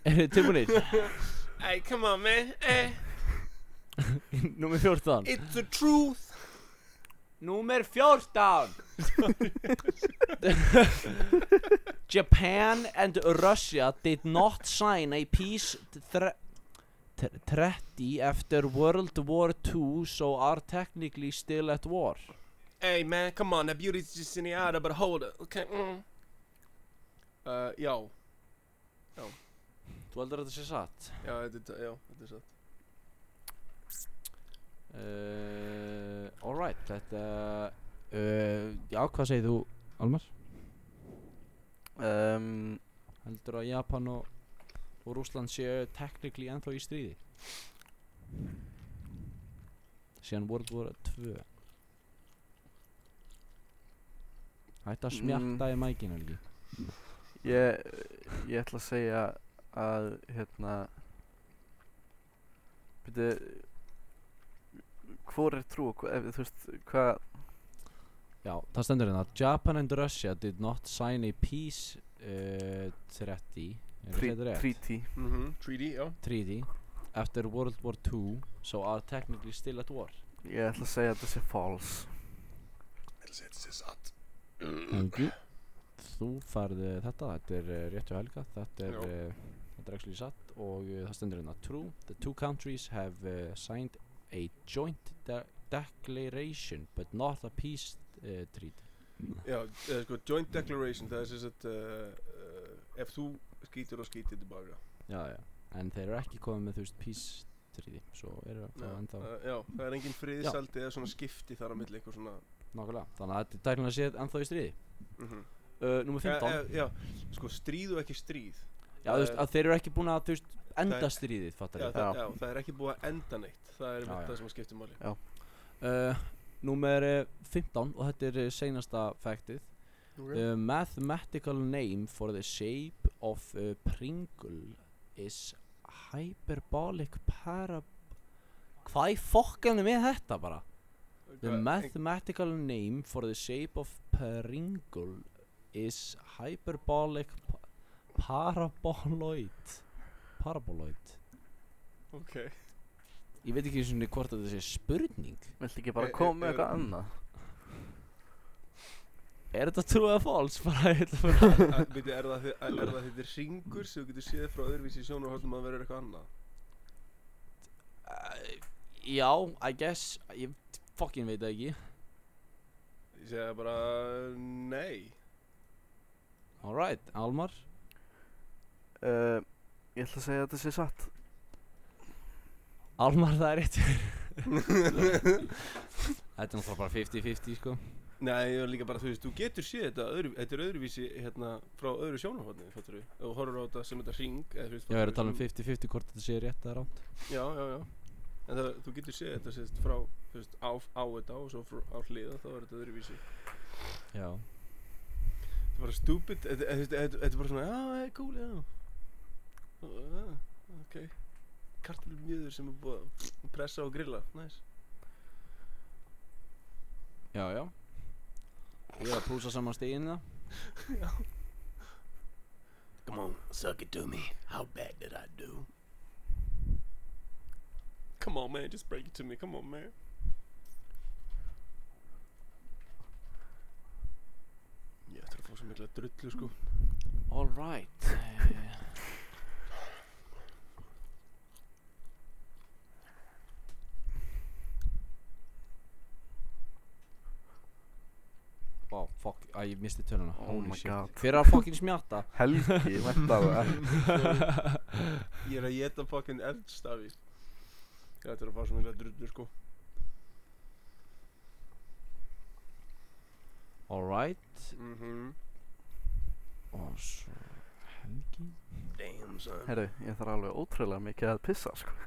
B: Er þið tilbúinir?
H: hey, come on, man. Eh,
B: Númer 14
H: it's the truth.
B: Númer 14 Japan and Russia did not sign a peace thre tr- treaty after World War II so are technically still at war
H: Hey, man, come on. That beauty's just in the outer, but hold it. Okay. Mm.
D: uh, Já,
B: Þú heldur að þetta sé satt?
D: já, þetta er, já, þetta er satt
B: Uh, Alright, þetta uh, Já, hvað segir þú, Almar?
C: um,
B: Heldur að Japan og, og Rússland séu technically ennþá í stríði? Síðan World War 2 Hætti að smjarta í mækinu ekki
C: ég, ég ætla að segja að hérna Byrju Hvor er trú? Hva, ef, þú veist, hvað
B: Já, það stendur hérna Japan and Russia did not sign a peace uh, treaty Er
C: trí-
B: þetta rétt?
C: Treaty
D: mm -hmm. Treaty, já
B: Treaty After World War 2 So are technically still at war
C: Ég ætla að segja að þetta sé false
B: Helgi Þú færði þetta, þetta er eh, rétt hjá Helga Þetta er,
D: Já.
B: eh, þetta er actually satt og eh, það stendur hérna True, the two countries have uh, signed a joint de declaration but not a peace uh, treaty
D: Já, eða sko, joint declaration, það er sem sagt uh, uh, Ef þú skýtir og skýtir tilbaka
B: Já, já En þeir eru ekki komið með þú veist peace treaty Svo eru það
D: Já,
B: ennþá
D: uh, já, það er engin friðsældi eða svona skipti þar á milli eitthvað svona
B: Nákvæmlega, þannig að þetta er tæknilega séð ennþá í stríði
D: mm -hmm.
B: uh, Númer 15
D: Já, sko, stríð og ekki stríð
B: Já, þú veist,
D: eh,
B: að þeir eru ekki búin að þú veist,
D: það
B: enda
D: er-
B: stríðið, fattar
D: Já,
B: ég
D: það, já, það er ekki búið að enda neitt Það er
B: Já,
D: já,
B: já.
D: það sem skiptir máli
B: uh, Númer eh, 15 og þetta er eh, seinasta faktið The mathematical name for the shape of a Pringle is hyperbolic parab... Hvað í fokkan er með þetta bara? The
D: Hvað-
B: mathematical name for the shape of Pringle is hyperbolic pa paraboloid Paraboloid
D: Ok,
B: Ég veit ekki einu sinni hvort að þetta sé spurning
C: Viltu ekki bara
D: Er-
C: koma
D: er-
C: með eitthvað annað?
B: Er þetta true eða false? Bara, ég ætla bara
D: Viti, er það þi- er það þetta ringur sem þú getur séð frá öðruvísi sjónarhóttum að vera eitthvað annað?
B: Æ, Já, I guess Ég fucking veit það ekki
D: Ég segja bara, nei
B: Alright, Almar
C: Uh, ég ætla að segja að þetta sé satt
B: Almar það er rétt Þetta er náttúrulega bara 50-50 sko
D: Nei, ég var líka bara, þú veist, þú getur séð þetta, öðru, þetta er öðruvísi hérna frá öðru sjónarhóttni, fattur við Ef þú horfur á þetta sem þetta ring eða, þú veist,
B: Ég verður að tala
D: fattarðu,
B: um 50-50 hvort þetta sé rétt eða rámt
D: sem- Já, já, já En það, þú getur séð þetta, sérst, frá, þú veist, á, á þetta og svo frá, á hliða, þá er þetta öðruvísi
B: Já
D: Þetta er bara stúpid, þetta þetta- þetta- þetta er bara svona, já, það er cool, já Ó, Já, ok Kartulmjöður sem er búið að pressa og grilla, næs
B: Já, já Ég er að púsa saman stegin það
D: Come on, suck it to me. How bad did I do? Come on, man, just break it to me. Come on, man. Ég ætti að fá svo mikla drullu, sko.
B: Alright Wow, fuck, að ég misti töluna
C: Oh my god.
B: Fyrir að fucking smjatta
C: Helgi, vent á það
D: Ég er að geta fucking eldstafi. Ég ætti að fá svo mikla drullu, sko.
B: Alright
D: Mhm.
B: Og svo Helgi
D: Damn, son.
C: Herru, ég þarf alveg ótrúlega mikið að pissa sko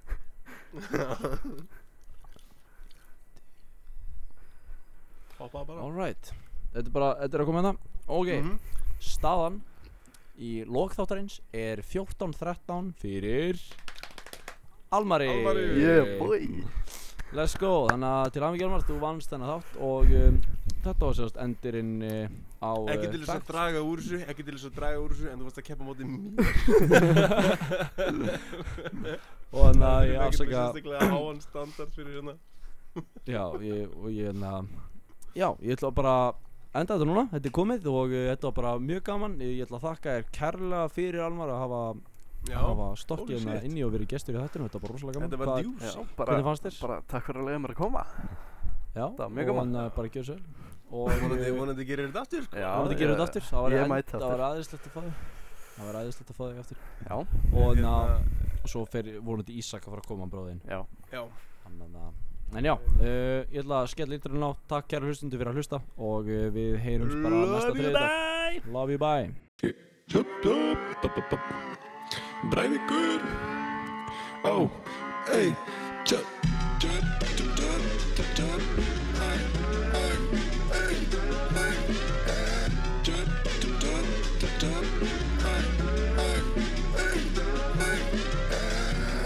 D: Hoppa bara.
B: Alright Þetta er bara, þetta er að koma hérna Ok,
D: Mhm.
B: staðan í lokþáttarins er 14-13 fyrir Almari
D: Almari.
C: Yeah boy
B: Let's go, þannig að til aðmyggjum Almar, þú vannst þennan þátt og um, þetta var sérst endurinn uh, á
D: Ekki til þess að draga úr þessu, ekki til þess að draga úr þessu, en þú varst að keppa á móti mér.
B: og þannig að ég
D: Ekkert
B: afsaka
D: sérstaklega háan standard fyrir hérna.
B: Já, ég, og ég hérna Já, ég ætla bara að enda þetta núna, þetta er komið og uh, þetta var bara mjög gaman Ég ætla að þakka þér kærlega fyrir Almar að hafa, hafa stokkið
D: holy
B: hérna
D: shit.
B: inni og verið gestur í þættinu, þetta var bara rosalega gaman
D: Þetta var
B: Hvað-
D: djús
C: Já, bara,
B: Hvernig fannst þér?
C: bara takk fyrir að leiða mér að koma
B: Já,
C: var mjög
B: og
C: gaman.
B: hann uh, bara gjör sér Og
D: Vonandi,
B: vonandi
D: vonandi gerir þetta aftur sko.
C: Já, eh,
B: vonandi gerum við þetta aftur Það var
C: ég
B: enn-
C: mæti
B: Það
C: aftur.
B: var aðeinslegt að fá þig Það var aðeinslegt að fá þig aftur
C: Já,
B: Og hérna,
D: Hérna,
B: svo fer vonandi Ísak að fara að koma bróðin
C: já
D: Já,
B: Þannig að En já, uh, ég ætla að skella ítrun á Takk kæra hlustundu fyrir að hlusta Og uh, við heyrums bara næsta þriðdag Love you bye
A: Jup, jup, bup, bup, bup. Breiðingur Ó, ei Tjöp, tjöp, tjöp, tjöp, tjöp, tjöp Æ, æ, ei, ei, ei Tjöp, tjöp, tjöp, tjöp, tjöp Æ, æ, ei,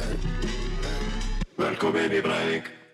A: ei, ei Velkomin í Breiðing